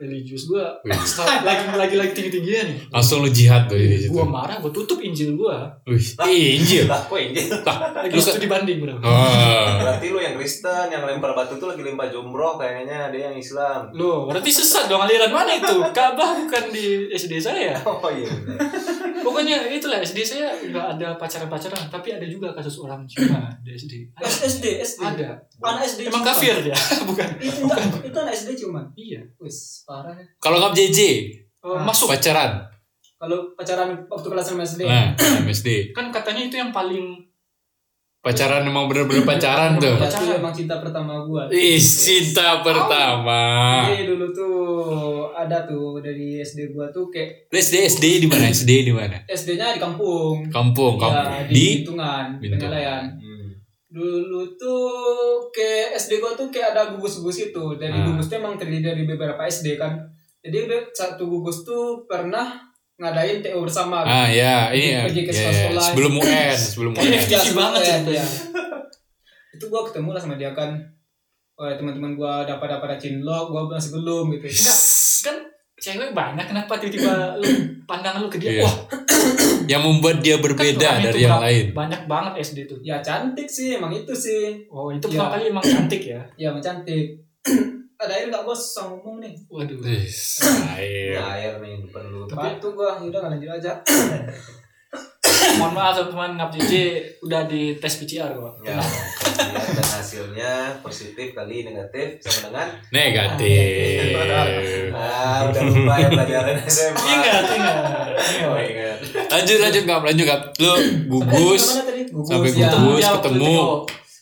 S1: religius gue
S2: Wih.
S1: lagi lagi lagi tinggi tingginya nih
S2: Langsung lu jihad tuh di situ.
S1: gue marah gue tutup injil gue
S2: Wih, ih, Injil.
S3: lah kok ini.
S1: lagi
S2: Lu kan-
S1: studi banding bro
S2: Oh.
S3: Berarti lu yang Kristen, yang lempar batu tuh lagi lempar jumroh kayaknya dia yang Islam.
S1: Loh, berarti sesat dong aliran mana itu? Ka'bah bukan di SD saya.
S3: Oh iya. bener.
S1: Pokoknya itulah SD saya nggak ada pacaran-pacaran, tapi ada juga kasus orang Cina di SD. Ada.
S4: SD SD
S1: Ada.
S4: anak SD
S1: Emang
S4: ciuman.
S1: kafir dia, bukan?
S4: itu enggak- itu anak SD cuman
S1: Iya.
S4: wis parah ya
S2: Kalau ngap JJ
S1: Oh,
S4: Ah.
S1: masuk
S2: pacaran.
S4: kalau pacaran waktu kelas 6 SD
S2: Nah, 6 SD.
S1: kan katanya itu yang paling
S2: Pacaran emang bener-bener pacaran kan tuh.
S4: Ya, itu emang cinta pertama gua
S2: Ih, cinta pertama.
S4: Jadi dulu tuh ada tuh dari SD gua tuh kayak
S2: Lu SD SD di mana? SD di mana?
S4: SD-nya di kampung.
S2: Kampung,
S1: Iya,
S2: kampung.
S4: Ya, di
S2: Di
S4: Bintungan,
S2: Bintungan.
S4: Pengalayan.
S3: Hmm.
S4: Dulu tuh kayak SD gua tuh kayak ada gugus-gugus itu. Dari
S2: Hmm.
S4: gugus tuh emang terdiri dari beberapa SD kan. Jadi be- satu gugus tuh pernah ngadain TO bersama.
S2: Ah ya,
S4: Pergi-
S2: iya.
S4: pergi ke
S2: Iya,
S4: sekolah-sekolah.
S2: Sebelum UN, sebelum
S1: Iya.
S2: UN.
S1: FTC banget
S4: ya.
S1: ceritanya.
S4: Itu gua ketemu lah sama dia kan. Wah, teman-teman gua ada pada pada cinlok, gua masih belum gitu.
S1: enggak kan cewek banyak kenapa tiba-tiba lu pandangan lu ke dia
S2: Iya.
S1: wah
S2: Yang membuat dia
S1: kan
S2: berbeda
S1: orang itu
S2: dari yang
S1: berapa-
S2: lain.
S1: banyak banget SD tuh
S4: Ya cantik sih, emang itu sih.
S1: oh itu
S4: Iya.
S1: pertama kali emang cantik ya
S4: Ya emang cantik. ada air nggak gua susah ngomong nih.
S1: waduh
S2: Ih,
S3: Ini
S2: air.
S3: air nih depan lu.
S4: Tapi itu gua udah nggak lanjut aja.
S1: mohon maaf teman-teman ngap JJ udah di tes PCR kok
S3: Ya, lihat dan hasilnya positif kali negatif sama dengan
S2: Negatif. Iya.
S3: ah udah lupa ya pelajaran SMA.
S1: ingat ingat
S3: Oh,
S1: ingat
S3: ingat.
S2: Lanjut, lanjut nggak, lanjut nggak. Lu gugus.
S4: Sampai tadi? Gugus,
S2: Sampai
S4: ya.
S2: gugus. Terus
S1: Iya, waktu
S2: ketemu.
S1: itu.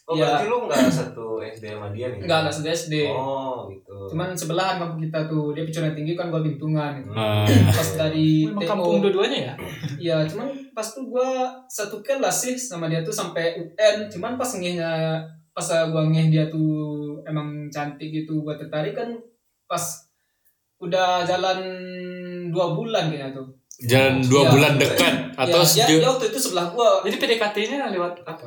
S3: Oh,
S4: Iya.
S3: berarti lu enggak satu SD sama dia nih?
S4: Enggak, enggak sudah SD.
S3: Oh, gitu.
S4: Cuman sebelahan kampung kita tuh, dia peculiar tinggi kan gua bintungan gitu.
S2: Ah.
S3: Hmm. Iya.
S4: Pas dari
S1: Emang kampung
S4: TO,
S1: dua-duanya ya
S4: ya cuman pas tuh gua satu kelas sih sama dia tuh sampai UN. Cuman pas ngehnya, pas gua ngeh dia tuh emang cantik gitu, gua tertarik kan pas udah jalan dua bulan kayaknya tuh.
S2: Jalan dua
S4: Iya.
S2: bulan dekat atau
S4: ya, dia,
S2: sejauh.
S4: dia waktu itu sebelah gua
S1: jadi PDKT-nya lewat apa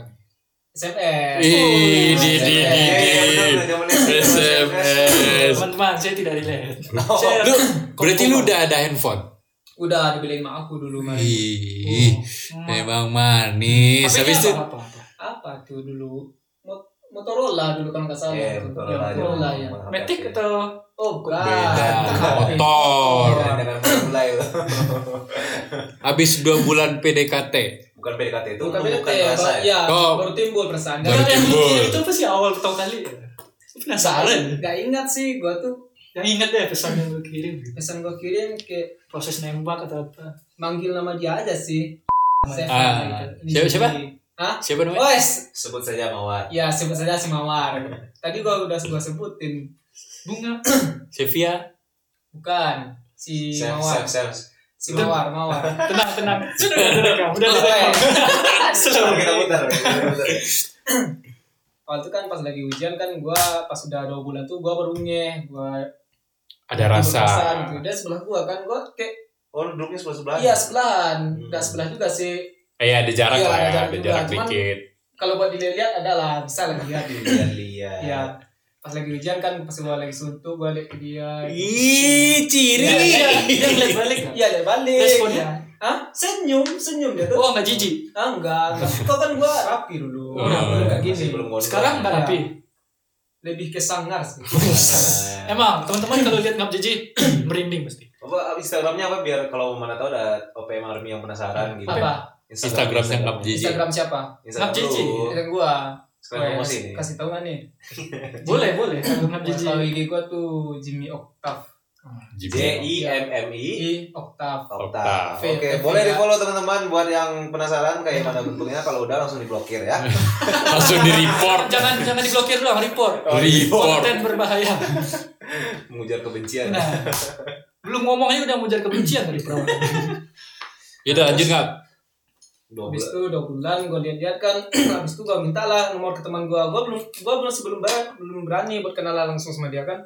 S4: SMS.
S2: Ih, di di
S4: Iya,
S2: di
S3: Eh,
S2: di.
S3: bener, zaman SD.
S2: SMS.
S1: teman-teman saya tidak relate
S3: Oh,
S2: Lu, berarti lu udah ada handphone.
S4: Udah dibeliin sama aku dulu mah.
S2: Ih,
S1: Oh.
S2: memang manis.
S1: Tapi
S2: Habis
S1: ini
S2: itu
S1: apa, apa, apa?
S4: Apa tuh dulu? Mot- Motorola dulu kalau nggak salah.
S3: Iya,
S4: tuh.
S3: Motorola
S4: Ya,
S3: aja.
S4: Motorola ya.
S1: Matic atau
S4: Oh, bukan.
S2: Beda.
S4: Bukan.
S2: Motor.
S3: Bukan dengan mulai lo.
S2: Habis dua bulan PDKT.
S3: Bukan PDKT itu,
S4: Bukan
S3: bukan
S4: beda ya.
S3: rasa
S4: Bang.
S3: ya.
S4: Ya,
S2: Oh.
S4: baru timbul perasaan.
S2: Baru
S1: Enggak yang
S2: timbul.
S1: yang itu apa sih awal pertama kali? Lu Penasaran.
S4: Gak ingat sih gua tuh
S1: Yang inget deh pesan yang lu kirim.
S4: pesan gua kirim kayak
S1: Proses nembak atau apa?
S4: manggil nama dia aja sih. gitu.
S2: Ah, siapa- siapa?
S4: Hah?
S2: Siapa namanya?
S4: Wes,
S3: Sebut saja Mawar.
S4: ya sebut saja si Mawar. Tadi gua udah gua sebutin.
S1: Bunga.
S2: Sevia.
S4: Bukan si
S3: Sam,
S4: Mawar.
S3: Sam, Sam.
S4: Si Mawar, Mawar. Oh, eh.
S1: Tenang, tenang. Sudah, sudah, sudah. Udah, udah,
S4: Wes.
S1: Sudah.
S3: Kita putar. kita putar.
S4: Waktu kan pas lagi hujan kan gua pas udah dua bulan tuh gua baru ngeh, gua
S2: Ada
S4: tidur
S2: rasa.
S4: kosan gitu. Dia sebelah gua kan gua kayak
S3: Oh, lu duduknya sebelah sebelah.
S4: iya sebelahan,
S3: Hmm.
S4: nggak sebelah juga sih.
S2: Eh ada jarak
S4: Iya,
S2: lah ya,
S4: ada jarak
S2: ada
S4: juga,
S2: jarak
S4: cuman-
S2: dikit.
S4: Kalau buat dilihat adalah bisa lah
S3: Iya,
S4: lihat.
S3: Lihat-lihat.
S4: Iya. Pas lagi hujan kan pas gua lagi suntuk gua lihat ke dia.
S2: Ih, ciri.
S1: Dia dia ngeliat balik.
S4: Iya, lihat balik.
S1: Responnya?
S4: Hah? Senyum, senyum dia tuh.
S1: Oh, nggak jijik.
S4: Ah, enggak. Kau kan gua rapi dulu.
S2: Oh,
S4: Rapi dulu Iya, kayak
S3: iya, Masih
S4: gini.
S3: belum ngomong.
S1: Sekarang nggak rapi.
S4: Lebih ke sangar sih.
S3: Nah.
S1: Emang teman-teman kalau lihat ngap jijik merinding pasti.
S3: Apa Instagramnya apa biar kalau mana tahu ada OPM Army yang penasaran gitu.
S4: Apa?
S2: Instagramnya Ngap Jiji.
S4: Instagram siapa?
S3: Instagram
S1: Ngap Jiji.
S3: lu.
S4: Instagram gua.
S3: Sekarang
S4: Wes,
S3: promosi nih.
S4: Iya. Kasih tahu nggak nih?
S1: Boleh, boleh. Kalau ngap
S4: Wah, Kalau
S1: jijik.
S4: IG gua tuh Jimmy Octave.
S3: J
S4: Iya.
S3: I M M I
S4: I Octave.
S3: Okta.
S4: Okta.
S3: Oke,
S4: Okta.
S3: boleh di follow teman-teman buat yang penasaran kayak mana bentuknya kalau udah langsung diblokir ya.
S2: Langsung di report.
S1: Jangan jangan diblokir doang, report.
S2: Report.
S1: Konten berbahaya.
S3: Mengujar kebencian. ya.
S1: Nah, belum ngomongnya udah mujar kebencian dari Pro.
S2: Yaudah Ya lanjut nggak?
S3: Dua
S4: Habis
S3: bulan.
S4: itu dua bulan gue lihat-lihat kan, habis itu gue minta lah nomor ke teman gue. Gue belum, gue belum sebelum ber- belum berani buat kenalan langsung sama dia kan.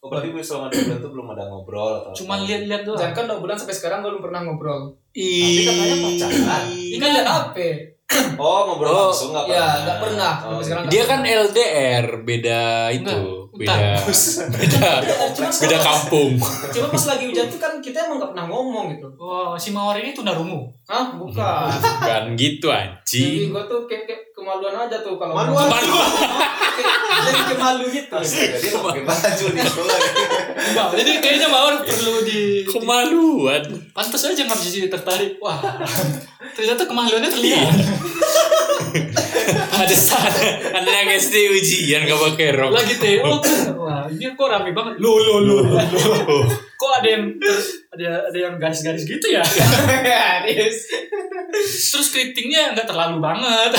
S3: Oh, berarti selama dua bulan tuh belum ada ngobrol atau
S1: Cuman lihat-lihat doang.
S4: Dan kan dua bulan sampai sekarang gue belum pernah ngobrol.
S3: Tapi katanya pacaran.
S4: Ini kan lihat HP.
S3: Oh, ngobrol
S2: Oh,
S3: langsung nggak
S4: iya,
S3: pernah.
S4: nggak pernah. Sampai
S3: Oh,
S4: sekarang
S2: Dia kan LDR, beda itu,
S1: Enggak,
S2: beda, beda,
S4: Cuma
S2: beda kampung.
S4: Cuma pas lagi hujan tuh kan kita emang gak pernah ngomong gitu.
S1: Oh, si Mawar ini tunarungu.
S4: Hah, bukan.
S2: Bukan gitu
S4: Jadi
S2: anjing.
S4: gue tuh kayak, kayak kemaluan aja tuh kalau
S3: Malu
S4: ngomong.
S3: aja.
S4: jadi kemalu gitu.
S3: Jadi mau pakai baju nih sekolah.
S1: Enggak, jadi kayaknya Mawar perlu di
S2: Kemaluan.
S1: pantas aja nggak jadi tertarik. Wah, ternyata kemaluannya terlihat.
S2: Ada sana, ada yang SD ujian gak pakai rok.
S1: Lagi TO kan. Wah, ini kok rame banget. Lu
S2: Lo lo lo lo. lo.
S1: kok ada yang ada ada yang garis-garis gitu ya?
S4: Garis.
S1: Terus keritingnya nggak terlalu banget.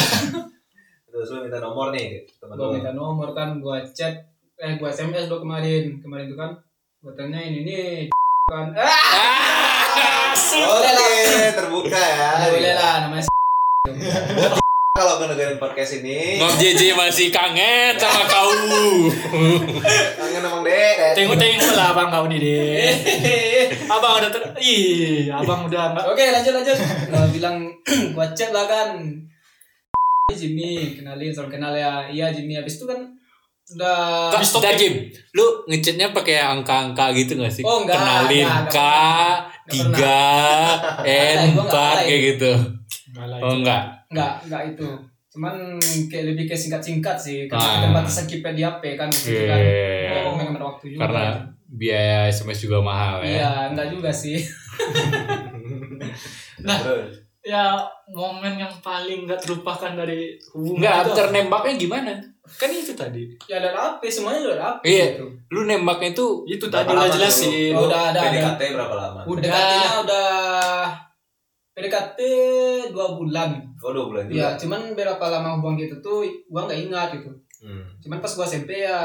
S3: Terus lu minta nomor nih teman
S4: gue
S2: Oh.
S3: lu.
S4: minta nomor kan gue chat eh gue sms lo kemarin kemarin itu kan gue tanyain ini kan ah
S2: Ah,
S3: Oke, terbuka ya.
S2: iya.
S4: boleh lah namanya
S3: Kalau ngedengerin podcast ini,
S2: Ngom JJ masih kangen sama kau.
S3: kangen emang deh.
S1: Tengok-tengok lah abang kau nih deh. Abang udah ter... Ih, abang udah nggak...
S4: oke lanjut lanjut gue bilang gue chat lah kan "Ini Jimmy kenalin salam kenal ya iya Jimmy habis itu kan udah
S2: Kak,
S1: topik.
S2: Jim, lu ngechatnya pakai angka-angka gitu gak sih?
S4: Oh, enggak,
S2: Kenalin
S4: enggak, enggak
S2: K,
S4: pernah.
S2: tiga, N,
S4: Enggak, ya. gua enggak
S2: empat,
S4: alay.
S2: kayak gitu. Oh enggak.
S4: nggak nggak itu cuman kayak lebih ke singkat singkat sih
S2: Ah.
S4: Kan karena keterbatasan kita di hp kan waktu itu kan
S2: Iya.
S4: Ngomong dengan waktu juga kan.
S2: Karena biaya SMS juga mahal ya.
S4: iya nggak juga sih
S1: Nah,
S3: Bro,
S1: ya momen yang paling nggak terlupakan dari hubungan
S2: Enggak,
S1: itu
S2: after
S1: apa?
S2: nembaknya gimana?
S1: kan itu tadi
S4: ya dan hp semuanya udah hp
S2: Iya.
S4: gitu.
S2: Lu nembaknya itu
S1: itu
S3: Berapa
S1: tadi udah
S3: lama
S1: jelasin
S4: dulu? Udah ada,
S3: PDKT berapa lama?
S1: Udah.
S4: PDKT-nya udah PDKT dua bulan.
S3: Oh, dua bulan
S4: Ya,
S3: juga.
S4: cuman berapa lama hubungan gitu tuh gua nggak ingat gitu.
S3: Hmm.
S4: Cuman pas gua SMP ya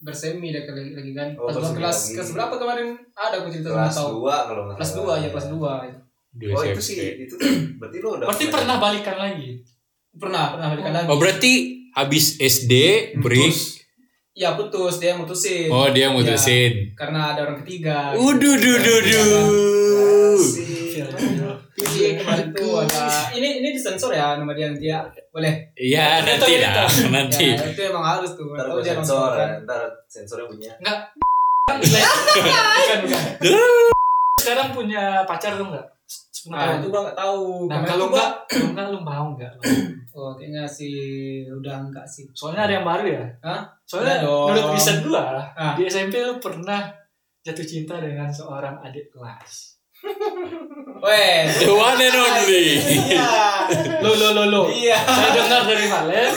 S4: bersemi deh kali lagi kan.
S3: Oh,
S4: Pas gua
S3: bersemi
S4: kelas
S3: lagi.
S4: kelas berapa kemarin ada gua cerita sama
S3: Kelas
S4: tau.
S3: dua kalau nggak
S4: Kelas
S3: salah.
S4: dua ya kelas dua.
S2: Dua
S3: Oh, itu
S2: SMS.
S3: sih, itu berarti lu udah
S1: berarti
S4: Iya.
S1: pernah balikan lagi
S4: Pernah pernah balikan lagi.
S2: Oh berarti habis SD break.
S4: Ya putus dia yang mutusin
S2: Oh dia mutusin.
S4: karena ada orang ketiga. gitu.
S2: Uduh, duh, duh, duh.
S4: Iya.
S3: Asik.
S4: Jadi iya, kemarin tuh ada ini ini disensor ya nama dia nanti ya. Boleh.
S2: Iya nanti
S1: Itu,
S2: lah, nanti.
S4: Ya, itu emang harus tuh.
S3: Ntar gue
S4: Tahu dia nonton
S3: sensor,
S4: kan.
S3: ntar sensornya punya.
S4: Iya.
S1: Kan, like- bukan bukan sekarang punya pacar lu nggak sepuluh
S4: Nah, itu
S1: tahun
S4: gua nggak tahu.
S1: nah
S4: Kemarin
S1: kalau
S4: tuh gua-
S1: enggak kalau enggak lu mau enggak lu?
S4: oh kayaknya sih udah enggak sih.
S1: soalnya ada yang baru ya
S4: Hah?
S1: soalnya
S4: Ada dong.
S1: menurut riset gua
S4: Ah.
S1: di SMP lu pernah jatuh cinta dengan seorang adik kelas
S4: Wes.
S2: The one and only.
S4: Iya.
S1: lo lo lo lo
S3: Iya.
S1: saya dengar dari Valen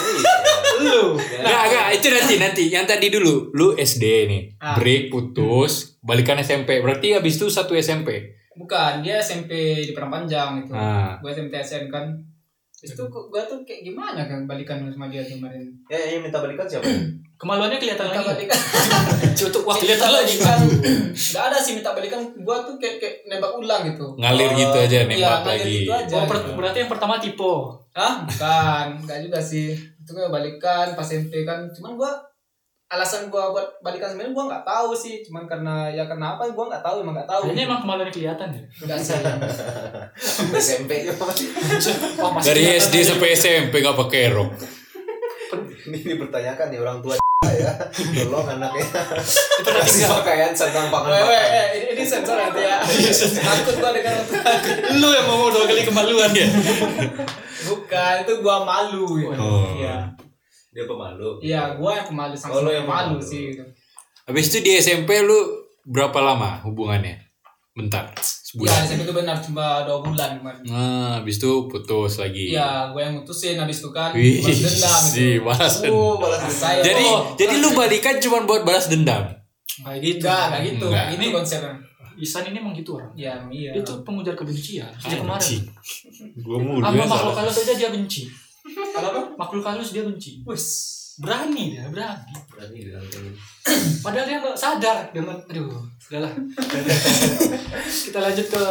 S1: lu
S2: Enggak, enggak, itu nanti nanti yang tadi dulu. Lu SD nih.
S4: Ah.
S2: Break putus, balikan SMP. Berarti habis itu satu SMP.
S4: Bukan, dia SMP di Perang Panjang itu.
S2: Nah,
S4: Gua SMP TSM kan. Terus tuh kok- gua tuh kayak gimana kan balikan sama dia kemarin.
S3: Ya, yang minta balikan siapa?
S1: kemaluannya kelihatan
S4: Minta
S1: lagi
S4: balikan.
S2: Nah.
S1: cukup Nah, iya. wah
S4: minta
S1: kelihatan lagi
S4: balikan. Enggak ada sih minta balikan. Gua tuh kayak kayak nembak ulang gitu.
S2: ngalir gitu aja nembak
S4: ngalir
S2: lagi.
S4: gitu aja.
S1: Oh, per- berarti yang pertama tipe
S4: Hah? Bukan, enggak juga sih. Itu kan balikan pas SMP kan. Cuman gua alasan gua buat balikan sebenarnya gua nggak tahu sih. Cuman karena ya kenapa gua nggak tahu, emang nggak tahu.
S1: Kayaknya emang kemaluannya kelihatan ya.
S4: Enggak sih.
S3: SMP ya.
S1: Oh, masih
S2: Dari
S1: kelihatan
S2: SD
S1: tadi.
S2: sampai SMP gak pakai rok.
S3: Ini dipertanyakan nih orang tua ya. Tolong anaknya.
S1: Itu pernah
S3: Kasih
S1: tinggal.
S3: pakaian sedang
S4: Weh, weh,
S3: pangan.
S4: eh, ini, ini sensor nanti ya. Takut gua dengan
S1: Lu yang mau dua kali kemaluan ya.
S4: Bukan, itu gua malu. gitu.
S2: Oh.
S4: Iya.
S3: Dia pemalu.
S4: Iya, gua yang pemalu sama
S3: Oh, lu yang pemalu.
S4: malu sih gitu.
S2: Habis itu di SMP lu berapa lama hubungannya? Bentar,
S4: Iya,
S1: Ya,
S2: sebulan.
S4: SMP itu benar cuma 2 bulan kemarin.
S2: Nah, habis itu putus lagi.
S1: Ya,
S4: Iya, gua yang mutusin habis itu kan.
S2: Wih,
S4: balas dendam itu.
S2: si balas dendam.
S3: Oh, balas
S4: Saya-
S2: Jadi,
S4: Oh,
S2: jadi lu balikan cuma buat balas dendam.
S1: Kayak gitu.
S4: Enggak, enggak gitu.
S2: Enggak.
S4: Enggak gitu konsepnya.
S1: Isan ini emang gitu orang.
S4: Ya, iya.
S1: Itu pengujar kebencian. Sejak kemarin.
S2: Gua mulu
S1: Sama
S2: ya
S1: makhluk
S2: salah.
S1: halus aja dia benci.
S4: kalau apa?
S1: Makhluk halus dia benci.
S4: Wes.
S1: Berani dia, berani.
S3: Berani bilang kayak gini.
S1: Padahal dia nggak sadar dengan aduh, udahlah. Kita lanjut ke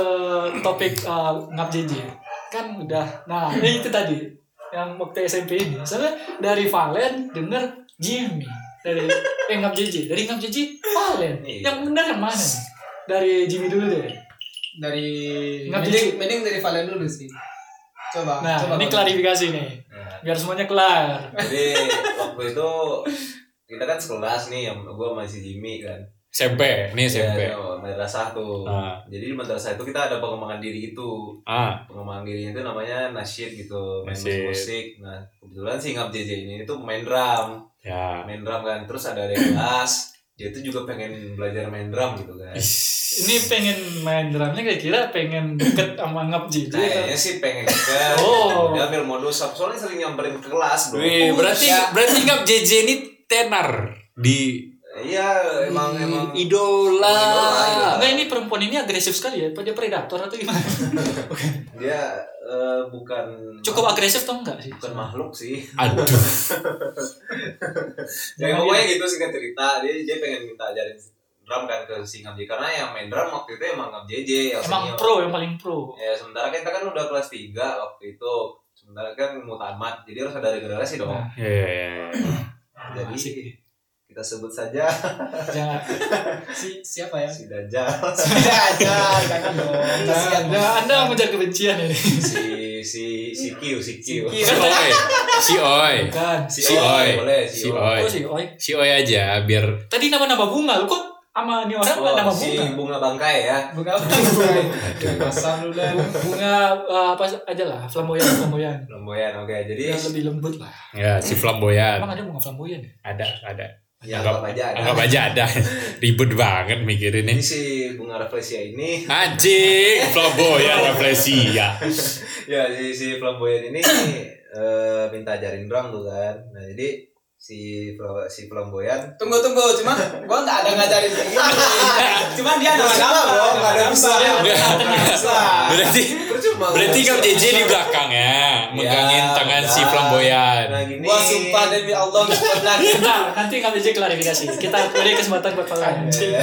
S1: topik eh, ngap JJ. Kan udah. Nah, ini itu tadi yang waktu SMP ini. Soalnya dari Valen denger Jimmy dari eh ngap JJ, dari ngap JJ Valen.
S3: Iya.
S1: Yang benar yang mana? nih? Dari Jimmy dulu deh.
S4: Dari
S1: Nggak
S4: mending, mending dari Valen dulu sih. Coba,
S1: Nah,
S4: coba.
S1: ini
S4: Valen.
S1: klarifikasi nih.
S3: Nah,
S1: Biar semuanya kelar.
S3: Jadi waktu itu kita kan sekelas nih yang gua masih Jimmy kan.
S2: SMP, nih SMP.
S3: Ya, madrasah tuh.
S1: ya.
S2: Ah,
S3: Jadi di madrasah itu kita ada pengembangan diri itu.
S2: ah,
S3: pengembangan dirinya itu namanya nasyid gitu main
S2: Nasyid.
S3: musik nah kebetulan si ngap JJ ini itu main drum
S2: ya.
S3: main drum kan terus ada ada kelas dia itu juga pengen belajar main drum gitu kan
S1: Ini pengen main drumnya kira-kira pengen deket sama ngap JJ.
S3: Nah, kayaknya sih pengen kan
S1: Oh.
S3: dia ambil modus soalnya sering nyamperin ke kelas bro
S2: Wih, berarti
S4: Ya.
S2: berarti ngap JJ ini tenar di
S3: iya emang emang
S2: idola.
S3: Idola, idola.
S1: Enggak ini perempuan ini agresif sekali ya, pada predator atau gimana?
S3: dia eh, bukan
S1: Cukup agresif atau enggak sih?
S3: bukan makhluk sih
S2: Aduh.
S3: Ya pokoknya gitu singkat cerita dia dia pengen minta ajarin drum kan ke si ngap JJ karena yang main drum waktu itu emang ngap JJ yang
S1: Emang
S3: senior.
S1: pro yang paling pro.
S3: Ya sementara kita kan udah kelas 3 waktu itu Sementara kan mau tamat Jadi harus ada regenerasi dong
S1: Nah,
S2: Ya, ya, ya.
S3: Jadi
S1: Asik.
S3: kita sebut saja
S1: Jangan
S4: si, siapa ya? Nah,
S3: si Dajjal
S4: Tidak ada, jangan dong.
S1: jangan.
S4: Kasihan.
S1: Jangan. Anda mengejar kebencian ini.
S3: Si si si Q Si
S4: Si
S3: Q
S4: Q.
S2: Si Oi, si Oi,
S1: Kan.
S2: si Oi,
S3: boleh
S2: si
S3: si
S2: Oi,
S1: Oh sih, oi.
S2: si Oi aja biar
S1: Tadi nama-nama bunga lu kok sama ini orang nggak nama
S3: Oh, si
S1: bunga.
S3: bunga bangkai ya
S4: Bukan apa? Pasar lu dah.
S1: Bunga eh, apa aja lah, flamboyan flamboyan.
S3: Lemboyan oke jadi
S1: Yang lebih lembut lah.
S2: ya si flamboyan.
S1: Emang ada bunga flamboyan ya?
S2: Ada, ada.
S3: ya anggap aja ada
S2: Anggap aja ada. Ribet banget mikirin ini.
S3: Jadi si bunga refleksia ini
S2: Anjing, flamboyan refleksi ya.
S3: Ya si si flamboyan ini eh, minta ajarin drum tuh kan Nah jadi si Fla- si flamboyan
S4: Tunggu tunggu, cuman gua nggak ada ngajarin kayak gitu. Cuman dia nama-nama
S3: Percuma, bro. Nggak ada bisa.
S4: Nggak ada bisa.
S2: Berarti
S3: Percuma,
S2: berarti
S3: bro.
S2: kamu JJ di belakang ya, megangin
S3: Ya,
S2: tangan si
S3: udah.
S2: flamboyan.
S3: Nah gini
S4: Gua sumpah demi Allah nggak pernah.
S1: Bentar, nanti kami aja klarifikasi. Kita beri kesempatan buat kalian.
S3: Iya.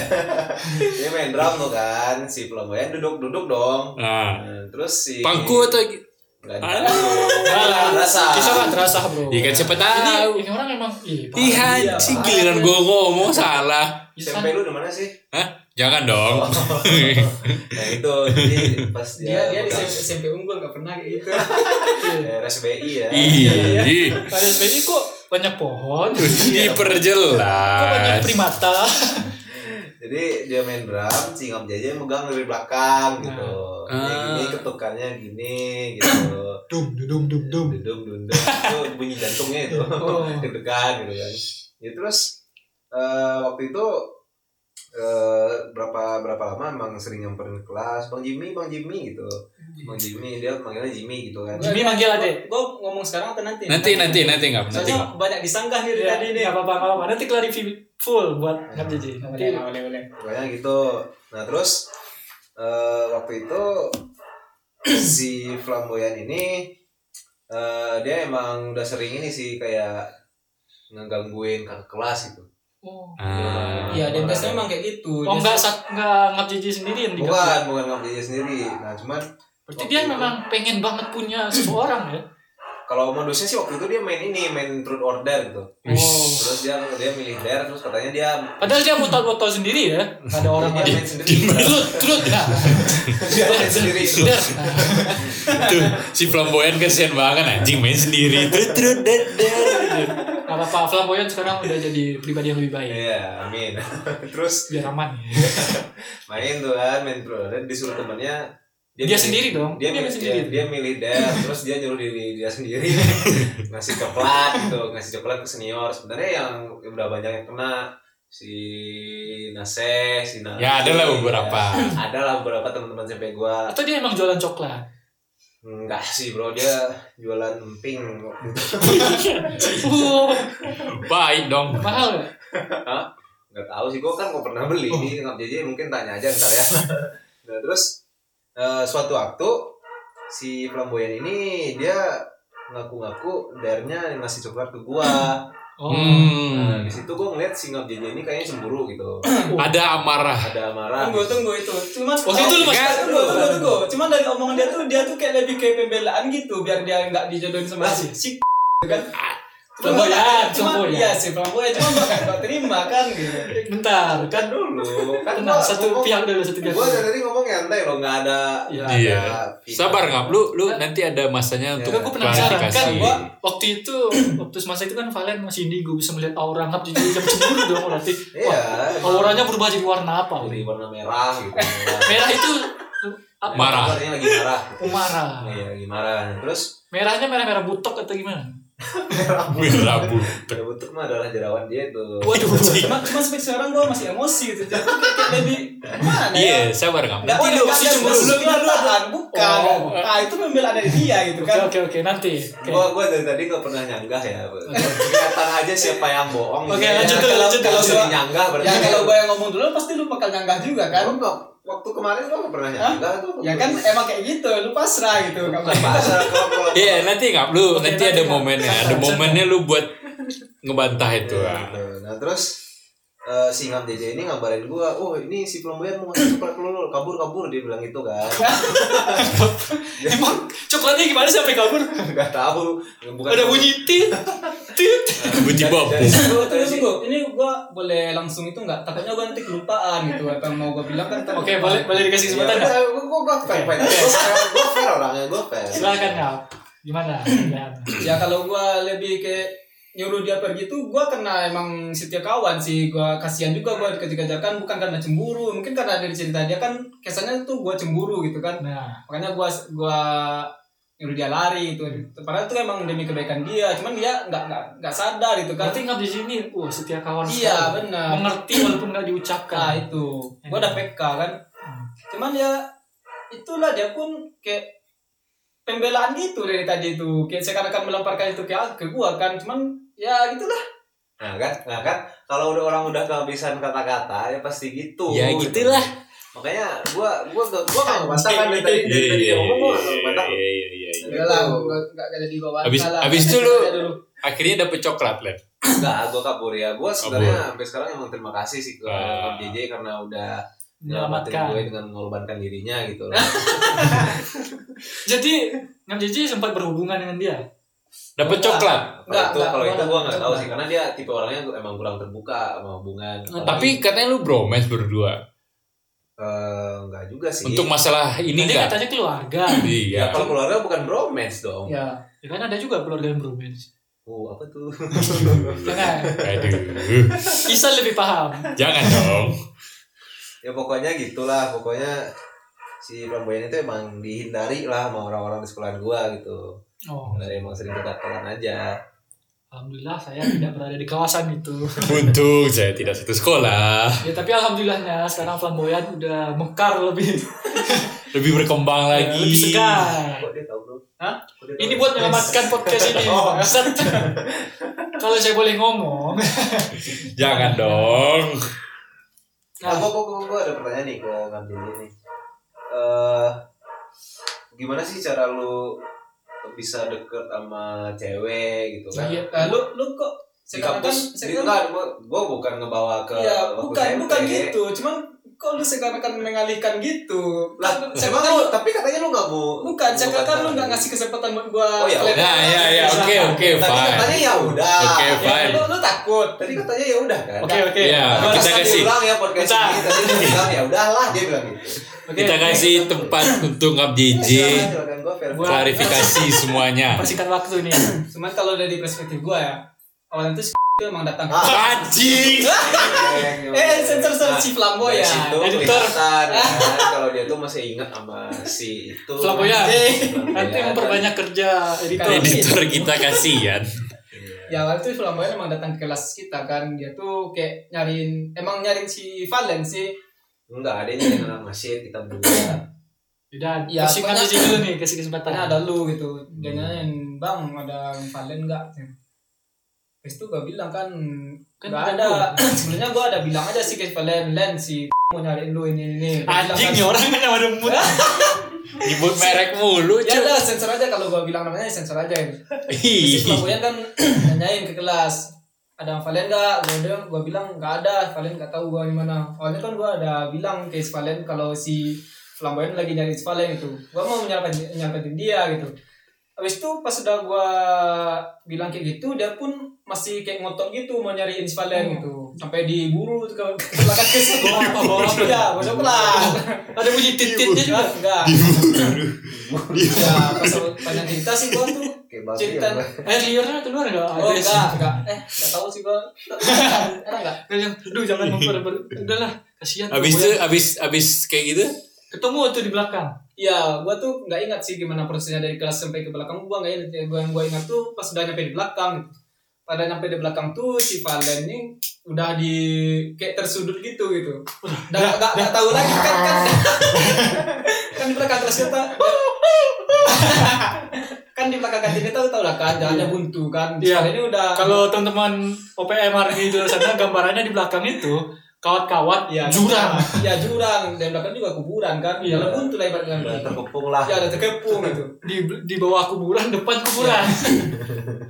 S3: Dia main drum tuh kan, si flamboyan duduk-duduk dong.
S2: Nah,
S3: Nah, terus si
S2: pangku atau
S3: Nggak ada.
S2: Aduh.
S3: Nggak rasa.
S1: Kita kan terasa bro.
S2: Iya Ah. kan siapa
S1: Ini,
S2: tahu.
S1: ini orang emang ih, parah.
S2: Iya, anjing giliran gua ngomong salah.
S3: SMP lu di mana sih?
S2: Hah? Jangan dong.
S3: Nah itu jadi pas
S4: Dia
S3: dia
S4: dia di SMP, SMP unggul nggak pernah kayak gitu.
S1: Iya.
S3: Ya, RSBI ya.
S2: Iya. Ih,
S1: Kalau SBI kok banyak pohon,
S2: diperjelas.
S1: kok banyak primata.
S3: Jadi dia main drum, si Ngap Jaja yang megang dari belakang gitu. Ini
S2: Ah.
S3: gini ketukannya gini gitu.
S1: dum dum dum dum
S3: Dudum dudum itu bunyi jantungnya itu.
S1: Oh.
S3: Deg-degan gitu kan. Ya terus eh, waktu itu eh, berapa berapa lama emang sering nyamperin ke kelas Bang Jimmy, Bang Jimmy gitu. Bang Jimmy dia manggilnya Jimmy gitu
S4: Oh,
S3: kan.
S1: Jimmy manggil adek.
S4: Gue ngomong sekarang atau nanti?
S2: Nanti nanti nanti nggak nanti.
S4: Soalnya banyak disanggah nih dari
S1: Ya,
S4: tadi
S1: ini
S4: nih.
S1: apa apa apa nanti klarifikasi full buat ngap Iya. JJ
S2: Iya.
S1: nanti
S4: Boleh, boleh, boleh.
S3: pokoknya gitu nah terus eh, waktu itu si flamboyan ini eh, dia emang udah sering ini sih kayak ngegangguin kakak kelas gitu
S2: Iya.
S1: oh
S2: Ah.
S4: Iya, dan biasanya emang kayak gitu.
S1: Oh, enggak
S4: Biasanya-
S1: sak- enggak ngap JJ sendiri yang diganggu
S3: bukan bukan ngomong dia sendiri nah cuman
S1: berarti dia memang pengen banget punya seseorang ya
S3: kalau modusnya sih waktu itu dia main ini main truth order gitu
S1: oh
S3: terus dia dia milih dare terus katanya dia
S1: padahal dia botol-botol sendiri ya Nggak ada orang
S3: dia
S4: Iya.
S1: yang
S3: main sendiri
S1: terus terus
S2: Iya.
S1: ya
S3: dia main sendiri
S1: Dar.
S2: Tuh, si flamboyan kesian banget anjing main sendiri. Trut, trut, dat, dat.
S1: Nggak apa-apa Nah, flamboyan sekarang udah jadi pribadi yang lebih baik
S3: Iya, amin. Terus
S1: biar aman ya.
S3: main tuh kan, main truth order disuruh temannya
S1: dia
S3: milih-
S1: sendiri dong
S3: dia milih
S1: sendiri
S3: dia, dia milih dance terus dia nyuruh diri dia sendiri ngasih coklat gitu ngasih coklat ke senior sebenarnya yang udah banyak yang kena si Naseh si Nasi
S2: Ya, ada lah beberapa.
S3: ada lah beberapa teman-teman sampai gua
S1: atau dia emang jualan coklat
S3: enggak sih bro dia jualan emping waktu itu.
S1: Wow,
S2: Baik dong.
S1: mahal ya? nggak?
S3: nggak tahu sih gua kan nggak pernah beli ini
S2: Oh.
S3: nggak jadi mungkin tanya aja ntar ya nah terus eh, suatu waktu si flamboyan ini dia ngaku-ngaku dare-nya ngasih coklat ke gua
S1: oh
S3: Nah,
S2: Hmm.
S3: di situ gue ngeliat si Ngap JJ ini kayaknya cemburu gitu.
S2: Ada amarah.
S3: Ada marah.
S4: Tunggu, tunggu Oh, itu. Cuman
S1: Waktu itu lu masih-
S4: Enggak, tunggu, tunggu, tunggu. Cuman dari omongan dia tuh dia tuh kayak lebih kayak pembelaan gitu biar dia enggak dijodohin sama si si kan. Cuman gua-
S1: Flamboyan,
S4: cuman-
S1: flamboyan.
S4: Iya, si flamboyan cuman gua enggak terima kan gitu.
S1: bentar
S3: Kan dulu. Kan
S1: tenang satu pihak dulu satu pihak
S3: Gue dari tadi ngomong nyantai loh, nggak ada.
S1: Iya.
S3: nggak
S2: Iya.
S3: ada pihak.
S2: Sabar ngap lu Iya. lu nanti ada masanya untuk
S3: Enggak,
S1: gua penasaran. Kan
S2: klarifikasi.
S1: gua- waktu itu waktu semasa itu kan Valen masih indigo bisa melihat aura ngap jadi jam cemburu dong berarti
S3: Iya.
S1: wah auranya berubah jadi warna apa
S3: Jadi warna merah gitu.
S1: merah itu apa
S2: Marah.
S3: Warnanya lagi marah.
S1: Umara.
S3: Iya, lagi marah. Terus
S1: merahnya merah merah butok atau gimana
S3: merah
S2: Berabu.
S3: Ada bentuk mah adalah jerawat dia itu.
S1: waduh
S4: Cuman cuman sampai sekarang gua masih emosi gitu. Jadi tuh kayak kayak lebih gimana ya?
S2: Iya, sabar ngap.
S4: Enggak
S1: Nanti
S4: boleh
S1: lu
S4: kan
S1: mesti
S4: dia
S1: cemburu.
S4: sebelum kenyataan, bukan.
S1: Oh.
S4: Nah, itu pembelaan dari dia gitu
S1: oke
S4: kan.
S1: oke oke nanti Oke.
S3: Gue gue dari tadi nggak pernah nyanggah ya. Kelihatan aja siapa yang bohong.
S1: Oke,
S3: Dia
S1: lanjut
S3: yang-
S1: dulu, lanjut
S3: Kalau
S1: dulu.
S3: sering nyanggah berarti.
S4: Ya kalau gua yang ngomong dulu pasti lu bakal nyanggah juga kan.
S3: Gua nggak- Waktu kemarin gue nggak pernah nyanggah tuh.
S4: Ya kan emang kayak gitu, lu pasrah gitu. Nggak boleh.
S3: Bahasa kalau kalau-
S2: Iya, nanti ngap lu
S1: Oke,
S2: nanti
S1: nanti
S2: ada
S1: ngap.
S2: momennya, ada momennya lu buat ngebantah
S1: Gitu
S2: itu.
S3: Iya, betul. Nah terus eh, si Ngam JJ ini ngabarin gua, oh ini si Plomboyan mau ngasih coklat ke lu, lu, kabur kabur dia bilang gitu kan.
S1: emang coklatnya gimana sampai kabur
S3: Gak tahu, bukan.
S1: ada bunyi tit tit
S2: Bunyi
S3: Dari-
S2: bom.
S3: dari situ,
S4: Tunggu,
S3: dari
S4: tunggu,
S3: situ.
S4: tunggu. Nah, Ini gua boleh langsung itu nggak? Takutnya gua nanti kelupaan gitu. Apa yang mau gua bilang kan? ntar
S1: oke
S4: kelupaan.
S1: boleh boleh dikasih
S3: Ya,
S1: kesempatan nggak?
S3: udah, gua gua gua fair fair, gua fair, gua fair orangnya, gua fair.
S1: silakan ngap gimana Gimana?
S4: Ya kalau gua lebih kayak nyuruh dia pergi tuh gua kena emang setia kawan sih gua kasihan juga gua dikejar-kejarkan bukan karena cemburu mungkin karena dari cerita dia kan kesannya tuh gua cemburu gitu kan
S1: nah
S4: makanya gua gua nyuruh dia lari itu padahal tuh emang demi kebaikan dia cuman dia nggak nggak nggak sadar gitu kan
S1: berarti ngap di sini wah setia kawan
S4: iya
S1: sekali.
S4: benar
S1: mengerti walaupun nggak
S4: Nah
S2: Ah,
S1: diucapkan
S4: itu, gua udah PK kan.
S1: Iya. Hmm.
S4: Cuman ya itulah dia pun kayak pembelaan gitu dari tadi itu. Kayak seakan-akan melemparkan itu ke, ke gua kan. Cuman ya gitulah.
S3: Nah kan, nah kan, kalau udah orang udah kehabisan kata-kata ya pasti gitu.
S2: Ya, gitulah.
S3: Makanya gua gua gua gua nggak ngebantah kan dari tadi
S2: Iya,
S3: dari tadi
S2: iya,
S3: dia ngomong gua
S2: iya,
S3: nggak
S2: iya,
S3: ngebantah.
S2: iya, iya, iya.
S4: Udah lah, gua enggak jadi gua bantah
S2: Abis-
S4: lah.
S2: abis itu
S4: Aja
S2: lu-
S4: Gitu. dulu.
S2: Akhirnya dapet coklat, Len.
S3: Enggak, gue kabur ya. Gue sebenarnya sampai sekarang emang terima kasih sih ke
S2: Ah.
S3: JJ karena udah menyelamatkan gue
S1: menyelamatkan
S3: dengan mengorbankan dirinya gitu loh.
S1: jadi ngap Jiji sempat berhubungan dengan dia
S2: Dapet
S4: Enggak.
S2: coklat.
S3: Kalau
S4: Enggak,
S3: itu
S4: enggak,
S3: kalau itu
S4: gua
S3: gue
S4: enggak
S3: nggak tahu
S4: tahu.
S3: sih karena dia tipe orangnya emang kurang terbuka sama hubungan. Apalagi,
S2: Tapi katanya lu bromance berdua.
S3: eh, enggak juga sih.
S2: Untuk masalah ini
S1: ini dia
S2: enggak?
S1: Iya. katanya keluarga
S3: ya,
S2: Iya.
S3: kalau keluarga bukan bromance dong.
S4: Ya.
S1: ya kan ada juga keluarga yang bromance
S3: Oh, apa tuh?
S1: jangan
S2: Aduh.
S1: Isa Ya kan? lebih paham
S2: Jangan dong.
S3: ya pokoknya gitulah pokoknya si flamboyan itu emang dihindari lah sama orang-orang di sekolah gua gitu
S1: Oh,
S3: Nah, emang sering kedatangan aja
S1: alhamdulillah saya tidak berada di kawasan itu.
S2: Untung saya tidak satu sekolah.
S1: Ya tapi alhamdulillahnya sekarang flamboyan udah mekar lebih
S2: Lebih berkembang lagi.
S1: Iya, lebih segar.
S3: kok dia tahu bro
S4: Hah?
S3: Kok dia tahu?
S1: Ini buat menyelamatkan podcast ini.
S4: Oh.
S1: Bangsat. Kalau saya boleh ngomong.
S2: Jangan dong.
S3: Nah, gua, gua, gua, gua ada pertanyaan nih ke Ngam Dini nih. Eh, gimana sih cara lu bisa deket sama cewek gitu kan?
S1: Iya.
S4: Nah, lu lu kok
S3: Di
S4: sekarang kan
S3: kampus, di,
S4: sekarang
S3: enggak, gua, gua bukan ngebawa ke
S4: Iya,
S3: waktu
S4: bukan
S3: SMP.
S4: bukan gitu. Cuman kok lu sekarang kan mengalihkan gitu.
S3: Lah,
S4: Kan lu-
S3: emang
S4: sekarang
S3: lu,
S4: lu
S3: tapi katanya lu nggak mau.
S4: bukan, sekarang kan lu nggak
S3: nggak
S4: ngasih kesempatan buat gua.
S3: Oh, ya
S4: kelebihan.
S2: Nah, ya, ya, oke, oke,
S3: Tadi
S2: fine.
S3: katanya ya udah.
S2: Oke,
S4: Ya,
S2: fine.
S4: lu, lu takut.
S3: Tadi katanya ya udah kan.
S1: Oke oke.
S2: Iya,
S3: Nah,
S2: kita
S3: tadi
S2: kasih
S3: ulang ya podcast
S1: Kita.
S3: ini. Tadi dia bilang ya udahlah dia bilang gitu.
S1: Oke.
S2: kita kan- kasih tempat untuk Ngab JJ
S3: Silakan, silakan, gua fair.
S1: Gua-
S2: klarifikasi semuanya.
S1: Persingkat waktu nih.
S4: Cuman kalau dari perspektif gua ya, awalnya tuh si itu emang datang.
S3: Ah.
S2: Anjing.
S4: Eh, sensor sensor
S3: Nah,
S4: si Flambo
S3: Dari
S4: ya.
S3: situ
S1: editor.
S3: kelihatan ya kan, kalau dia tuh masih ingat sama si itu. Iya,
S1: Flamboyan.
S3: Si
S1: Nanti memperbanyak kerja editor.
S2: Iya,
S4: Edit.
S2: Editor kita kasihan.
S3: Iya.
S4: Ya awalnya tuh Flamboyan emang datang ke kelas kita kan Dia tuh kayak nyariin Emang nyariin si Valen sih
S3: Enggak, ada yang kenal masih kita berdua.
S1: Udah,
S4: Ya,
S1: persingkat
S4: banyak-
S1: aja dulu nih kasih kesempatan.
S4: Tanya ada lu gitu Dia
S3: Hmm.
S4: nanyain Bang ada Valen gak Terus tuh gue bilang kan
S1: Kan bukan
S4: Kan gak ada Sebenarnya gue ada bilang aja sih ke Valen Len si mau nyariin lu ini ini Gua
S1: Anjing nih
S4: bilang
S1: orang kan sama demut.
S2: Nyebut merek mulu,
S4: kan, Ya
S2: cuy.
S4: udah sensor aja kalau gue bilang namanya sensor aja gitu. Terus si
S2: Ih.
S4: Flamboyan kan nanyain ke kelas ada Valen gak? Gue bilang, gua bilang gak ada, Valen gak tahu gue mana Awalnya kan gue ada bilang ke si Valen kalau si Flamboyan lagi nyari si Valen itu Gue mau menyalahkan menyalahkan dia gitu Habis itu pas udah gue bilang kayak gitu, dia pun masih kayak ngotot gitu mau nyariin si Valen gitu Sampai diburu tuh ke ke belakang ke sekolah
S1: Hmm. Bawa apa, bawa apa?
S4: Iya, masuk kelas
S1: Ada bunyi gitu, titit-titnya juga.
S4: Enggak, enggak Ya, pas banyak cerita sih gue tuh
S3: Kayak babi
S4: Cerita.
S3: ya, Bang.
S1: Eh, liurnya keluar enggak?
S4: Oh enggak, enggak. Eh, enggak tahu sih gua. Ada enggak?
S1: Kalian, aduh jangan memper, udahlah kasihan.
S2: Abis itu,
S1: Flamboyan.
S2: abis, abis kayak gitu,
S1: ketemu tuh di belakang.
S4: Iya, gua tuh enggak ingat sih gimana prosesnya dari kelas sampai ke belakang. Gua enggak ingat. Ya, Gua yang gua ingat tuh pas udah nyampe di belakang. Pada nyampe di belakang tuh si Valen ini udah di kayak tersudut gitu gitu. Dan enggak enggak tahu lagi kan kan. kan di belakang kelas kita. kan di belakang kantinnya tahu tahu lah kan jalannya buntu kan. Si
S1: Iya.
S4: Valen ini udah
S1: Kalau teman-teman OPM hari di luar sana gambarannya di belakang itu kawat-kawat gitu
S4: ya,
S1: jurang.
S4: Ya jurang dan belakang juga kuburan kan.
S1: Iya.
S4: Jalan buntu lah ibaratnya.
S3: Udah terkepung lah.
S4: ya ada terkepung gitu
S1: Di di bawah kuburan, depan kuburan.
S4: Iya.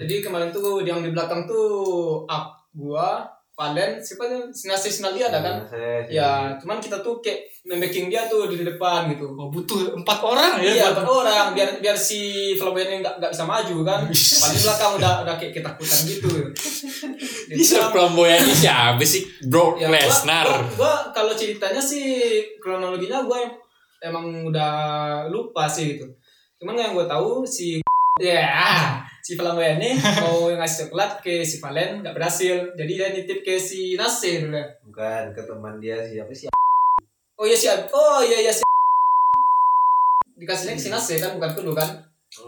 S4: jadi kemarin tuh yang di belakang tuh up gua Valen siapa tuh sinasi sinali ada kan
S3: Ya.
S4: ya cuman kita tuh kayak membaking dia tuh di depan gitu
S1: Oh, butuh empat orang ya
S4: Iya,
S1: buat
S4: buat orang biar biar si Flamboyan ini nggak nggak bisa maju kan. Paling belakang udah udah kayak ketakutan gitu. Dia
S2: bisa
S4: bilang,
S2: flamboyan ini siapa sih? Bro
S4: Ya, gua- Gua,
S2: Lesnar.
S4: gua kalau ceritanya sih kronologinya gua em- emang udah lupa sih gitu. Cuman yang gua tahu si ya si Flamboyan ini mau ngasih coklat ke si Valen nggak berhasil. Jadi dia nitip ke si Nasir.
S3: Bukan ke teman dia siapa sih?
S4: Oh iya si Ab- oh iya iya si dikasihnya ke si Nasir kan bukan ke lu kan?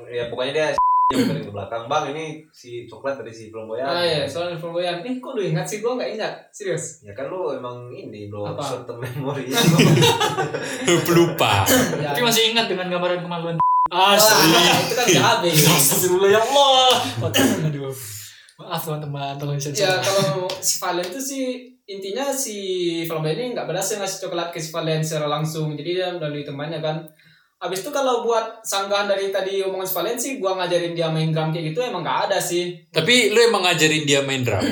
S3: Ya pokoknya dia si yang dari belakang bang ini si coklat dari si flamboyan.
S4: Ah iya soalnya Flamboyan. Eh kok lu ingat sih gua nggak ingat serius.
S3: Ya kan lu emang ini blow
S4: Apa? Iya.
S3: short term memory.
S2: Pelupa.
S4: Ya.
S1: Tapi masih ingat dengan gambaran kemaluan.
S4: Wah, itu kan udah habis.
S1: Astagfirullah ya Allah. Aduh. Maaf teman-teman, tolong
S4: ya
S1: disensor.
S4: kalau si Valen tuh sih intinya si Valen ini nggak berhasil ngasih coklat ke si Valen secara langsung jadi dia melalui temannya kan Habis itu kalau buat sanggahan dari tadi omongan si Valen sih gua ngajarin dia main drum kayak gitu emang nggak ada sih
S2: Tapi lu emang ngajarin dia main drum?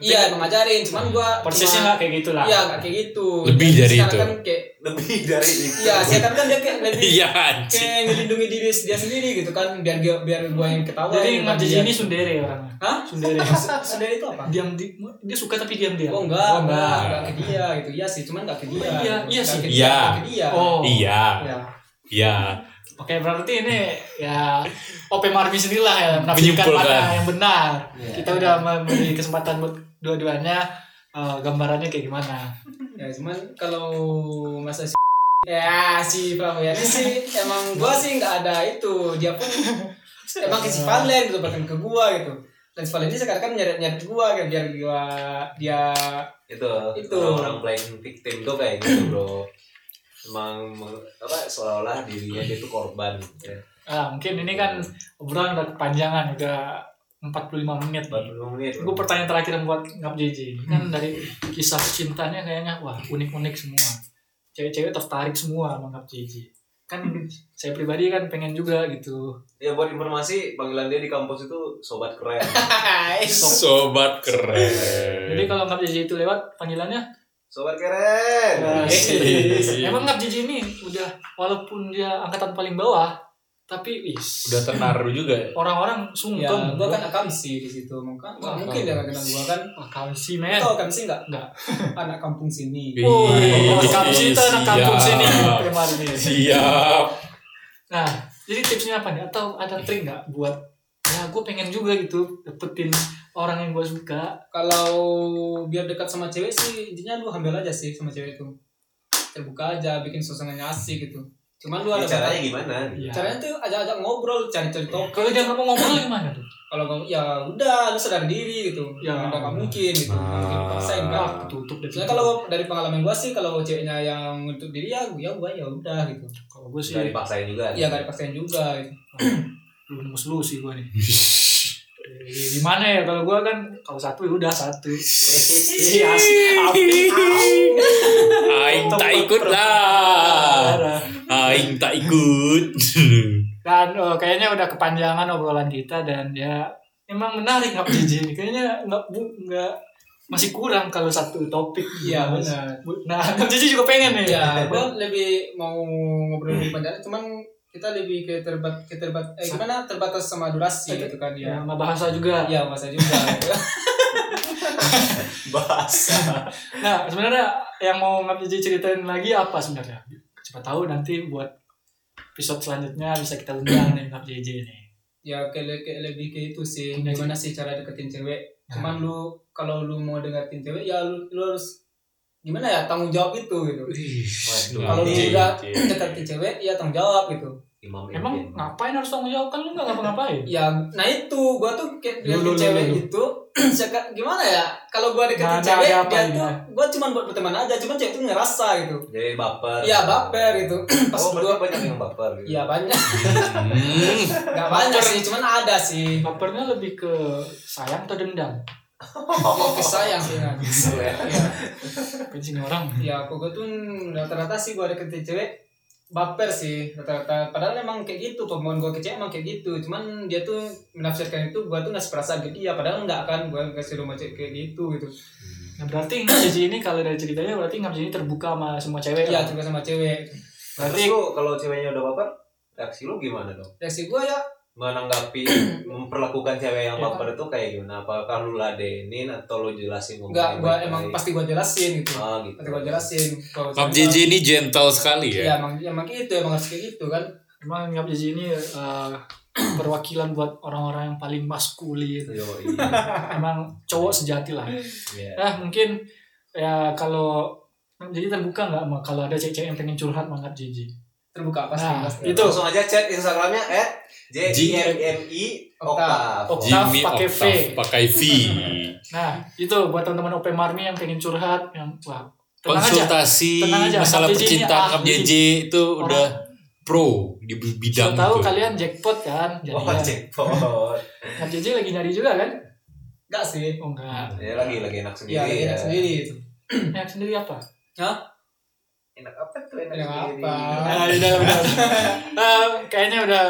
S4: iya emang ngajarin cuman gua
S1: Prosesnya Hmm. nggak
S4: cuma-
S1: kayak gitu gitulah.
S4: iya nggak kayak gitu
S2: Lebih
S4: Dan
S2: dari
S4: sekarang
S2: itu.
S4: kan kayak
S3: Lebih dari itu.
S4: iya sekarang kan dia kayak lebih
S2: Iya, anjing.
S4: kayak ngelindungi diri dia sendiri gitu kan biar dia- biar gua yang ketawa
S1: Jadi
S4: bukan
S1: ngaji
S4: dia.
S1: ini sundere orangnya.
S4: Hah?
S1: Sundere.
S4: Saudara itu apa
S1: diam di, dia suka tapi diam diam.
S4: Oh enggak,
S1: Oh,
S4: enggak,
S1: enggak.
S4: enggak ke dia gitu. Iya sih, cuman enggak ke
S1: Oh,
S4: dia.
S1: iya,
S4: gitu.
S1: iya
S4: Enggak
S1: sih.
S4: ke dia,
S2: Iya.
S4: enggak Ke dia.
S1: Oh.
S2: Iya,
S4: Iya.
S2: iya.
S1: Oke berarti ini ya OP Marmi sendirilah ya menampilkan
S2: Menyimpulkan.
S1: mana yang benar.
S3: Iya.
S1: Kita udah memberi kesempatan buat dua-duanya eh, gambarannya kayak gimana
S4: ya cuman kalau masa si ya si Pramoyani sih emang gua sih nggak ada itu dia pun emang ke si Valen gitu bahkan ke gua gitu dan si Valen ini sekarang kan nyeret nyeret gua kan biar gua dia
S3: itu
S4: Itu.
S3: orang playing victim tuh kayak gitu bro emang meng- apa seolah-olah dirinya dia itu korban ya.
S1: Ah, mungkin ini kan obrolan udah kepanjangan udah 45 menit nih.
S3: 40 menit
S1: Gue pertanyaan terakhir yang buat Ngap JJ kan dari kisah cintanya kayaknya wah unik-unik semua. Cewek-cewek tertarik semua sama Ngap JJ. Kan saya pribadi kan pengen juga gitu.
S3: ya buat informasi panggilan dia di kampus itu sobat keren
S2: Sobat keren.
S1: Jadi kalau Ngap JJ itu lewat panggilannya
S3: sobat
S4: Iya,
S2: Iya.
S3: keren
S1: Wih. gitu, Emang Ngap JJ ini udah walaupun dia angkatan paling bawah tapi wis
S2: udah ternaruh juga ya.
S1: orang-orang
S4: ya
S1: sungkem
S4: gua kan akam sih di situ mungkin nggak mungkin dia nggak kenal gua kan
S1: wah kamsi "Ah,
S4: Lu
S1: men
S4: tau akam sih nggak
S1: Nggak.
S4: anak kampung sini
S1: Oh,
S2: Ih,
S1: kampus itu anak kampus
S2: siap.
S1: ini kemarin ini.
S2: Iya. Siap.
S1: Nah, jadi tipsnya apa nih? Atau ada trik nggak buat ya gue pengen juga gitu dapetin orang yang gue suka.
S4: kalau biar dekat sama cewek sih intinya lu ambil aja sih sama cewek itu terbuka aja bikin suasananya asik gitu cuman lu
S3: Ya,
S4: ada
S3: caranya gimana
S1: Iya.
S4: caranya tuh ajak-ajak ngobrol cari-cari topik
S1: Kalau dia nggak mau ngobrol gimana tuh?
S4: kalau kamu ya udah lu sadar diri gitu
S1: Ya.
S4: ya udah nggak mungkin gitu
S2: Ah.
S4: Mungkin paksain kan
S1: Wah, ketutup deh.
S4: soalnya kalau dari pengalaman gua sih kalau ceweknya yang untuk diri ya gua ya gua ya udah gitu
S1: kalau gue sih
S3: Gak dipaksain juga
S4: ya nggak dipaksain juga gitu.
S1: belum nemu solusi gue nih. Eh, Gimana ya kalau gue kan kalau satu ya udah satu. Iya, api.
S2: Aing tak ikut lah. Aing tak ikut.
S1: Dan eh, kayaknya udah kepanjangan obrolan kita dan ya emang menarik nggak jijik ini. Kayaknya nggak bu nggak masih kurang kalau satu topik.
S4: iya benar
S1: Bu- Nah, Ngap Jiji juga pengen nih.
S4: ya gua lebih mau ngobrol di bandara cuman kita lebih ke terbat ke terbat eh gimana terbatas sama durasi gitu kan
S1: Ya,
S4: ya
S1: sama bahasa juga.
S4: Iya masa juga
S3: bahasa
S1: Nah, sebenarnya yang mau Ngap Jiji ceritain lagi apa sebenarnya? Siapa tahu nanti buat episode selanjutnya bisa kita undang nih Ngap Jiji ini.
S4: ya ke, ke- lebih ke itu sih
S1: Iya, Ya.
S4: gimana sih cara deketin cewek cuman lu kalau lu mau deketin cewek ya lu, lu harus gimana ya tanggung jawab itu gitu kalau lu
S3: Iya,
S4: udah deketin cewek ya tanggung jawab gitu
S3: imam
S1: Emang
S3: Ibn.
S1: ngapain harus tanggung jawab kan lu nggak ngapa-ngapain?
S4: ya nah itu gua tuh kayak
S1: Lu, lu, lu,
S4: deketin cewek
S1: lu.
S4: gitu suka- gimana ya kalau gua deketin
S1: Nada ada
S4: cewek
S1: iya. apa
S4: dia
S1: ini?
S4: tuh gua cuman buat berteman aja cuman cewek tuh ngerasa gitu
S3: jadi baper
S4: ya baper gitu pas
S3: oh
S4: gua
S3: berarti banyak yang baper gitu
S4: ya banyak
S2: Hmm.
S4: nggak banyak sih cuman ada sih
S1: Bapernya lebih ke sayang atau dendam?
S4: kesayang sih kan
S3: Kesel ya.
S1: Kencing orang.
S4: ya aku gue tuh rata-rata sih gue deketin cewek baper sih rata-rata padahal emang kayak gitu pemohon gue ke cewek emang kayak gitu cuman dia tuh menafsirkan itu gue tuh ngasih perasaan ke dia padahal enggak kan gue ngasih rumah cewek kayak gitu gitu
S1: Nah, berarti Ngabji ini kalau dari ceritanya berarti Ngabji ini terbuka sama semua cewek. lah.
S4: iya coba sama cewek
S1: Berarti
S3: terus lu kalau ceweknya udah baper reaksi lu gimana dong
S4: reaksi gue ya
S3: menanggapi memperlakukan cewek
S1: Iya.
S3: yang baper itu kayak gimana apakah lu ladenin atau lu jelasin ngomongnya
S4: enggak gue
S3: baik-baik?
S4: emang pasti gue jelasin gitu
S3: ah gitu
S4: pasti gue jelasin kalau
S2: Pap
S4: cewek
S2: JJ ini gentle sekali
S4: mah-
S2: ya.
S4: ya emang emang gitu emang harus kayak gitu kan
S1: emang Ngabji ini eh, perwakilan buat orang-orang yang paling maskulin.
S3: Yo,
S1: Emang cowok sejati lah.
S3: iya.
S1: Nah, mungkin ya kalau jadi terbuka nggak sama kalau ada cewek-cewek yang pengen curhat sama Ngabji?
S4: terbuka pasti
S1: Nah,
S4: pasti
S1: itu.
S3: langsung aja chat instagramnya at j i m m i
S4: Oktav.
S1: Oktav.
S2: Jimmy
S1: pakai V.
S2: Octave pakai V.
S1: Nah, itu buat teman-teman OP Marmi yang pengen curhat yang wah
S2: Oh,
S1: tenang aja.
S2: Konsultasi
S1: Tenang aja,
S2: masalah
S1: Kap JJ ini
S2: percintaan Kap
S1: ahli.
S2: JJ itu
S1: Orang-
S2: udah pro di bidang
S1: Siapa tahu
S2: itu.
S1: kalian jackpot kan? Jadi
S3: oh jackpot
S1: Ngabji lagi nyari juga kan?
S4: enggak sih
S1: Oh
S2: Nah,
S1: enggak.
S3: ya lagi lagi enak
S4: ya
S3: sendiri
S4: enak sendiri itu
S1: Yang sendiri apa?
S3: enak apa tuh enak,
S4: Enak
S3: sendiri
S4: apa?
S1: Nah, udah, udah. Eh, kayaknya udah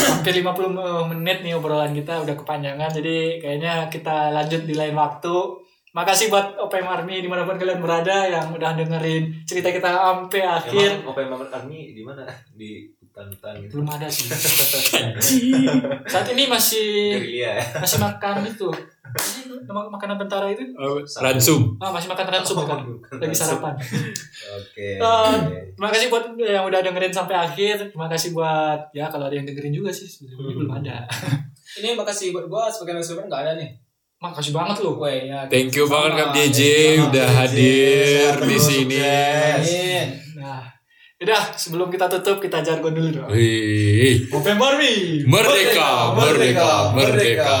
S1: hampir 50 menit nih obrolan kita udah kepanjangan jadi kayaknya kita lanjut di lain waktu makasih buat OPM Army dimanapun kalian berada yang udah dengerin cerita kita sampai akhir
S3: Emang OP Mamat Army di mana? Di hutan-hutan gitu.
S1: belum ada sih saat ini masih
S3: Gerilya ya.
S1: masih makan itu Emang makanan tentara itu
S2: Eh, Ransum.
S1: ah, masih makan ransu bukan lagi sarapan
S3: Oke.
S1: Ah. Terima kasih buat yang udah dengerin sampai akhir. Terima kasih buat ya kalau ada yang dengerin juga sih sebelumnya belum ada.
S4: ini makasih buat gue sebagai narasumber enggak ada nih
S1: makasih banget lu
S4: Weh, ya.
S2: Thank you banget Kap JJ
S3: Sama,
S2: udah
S3: JJ.
S2: hadir di
S3: Sehat terus,
S2: sini.
S3: sukses.
S1: nah udah sebelum kita tutup kita jargon dulu dong
S2: Wih,
S1: Open Barbie
S2: merdeka, merdeka, merdeka.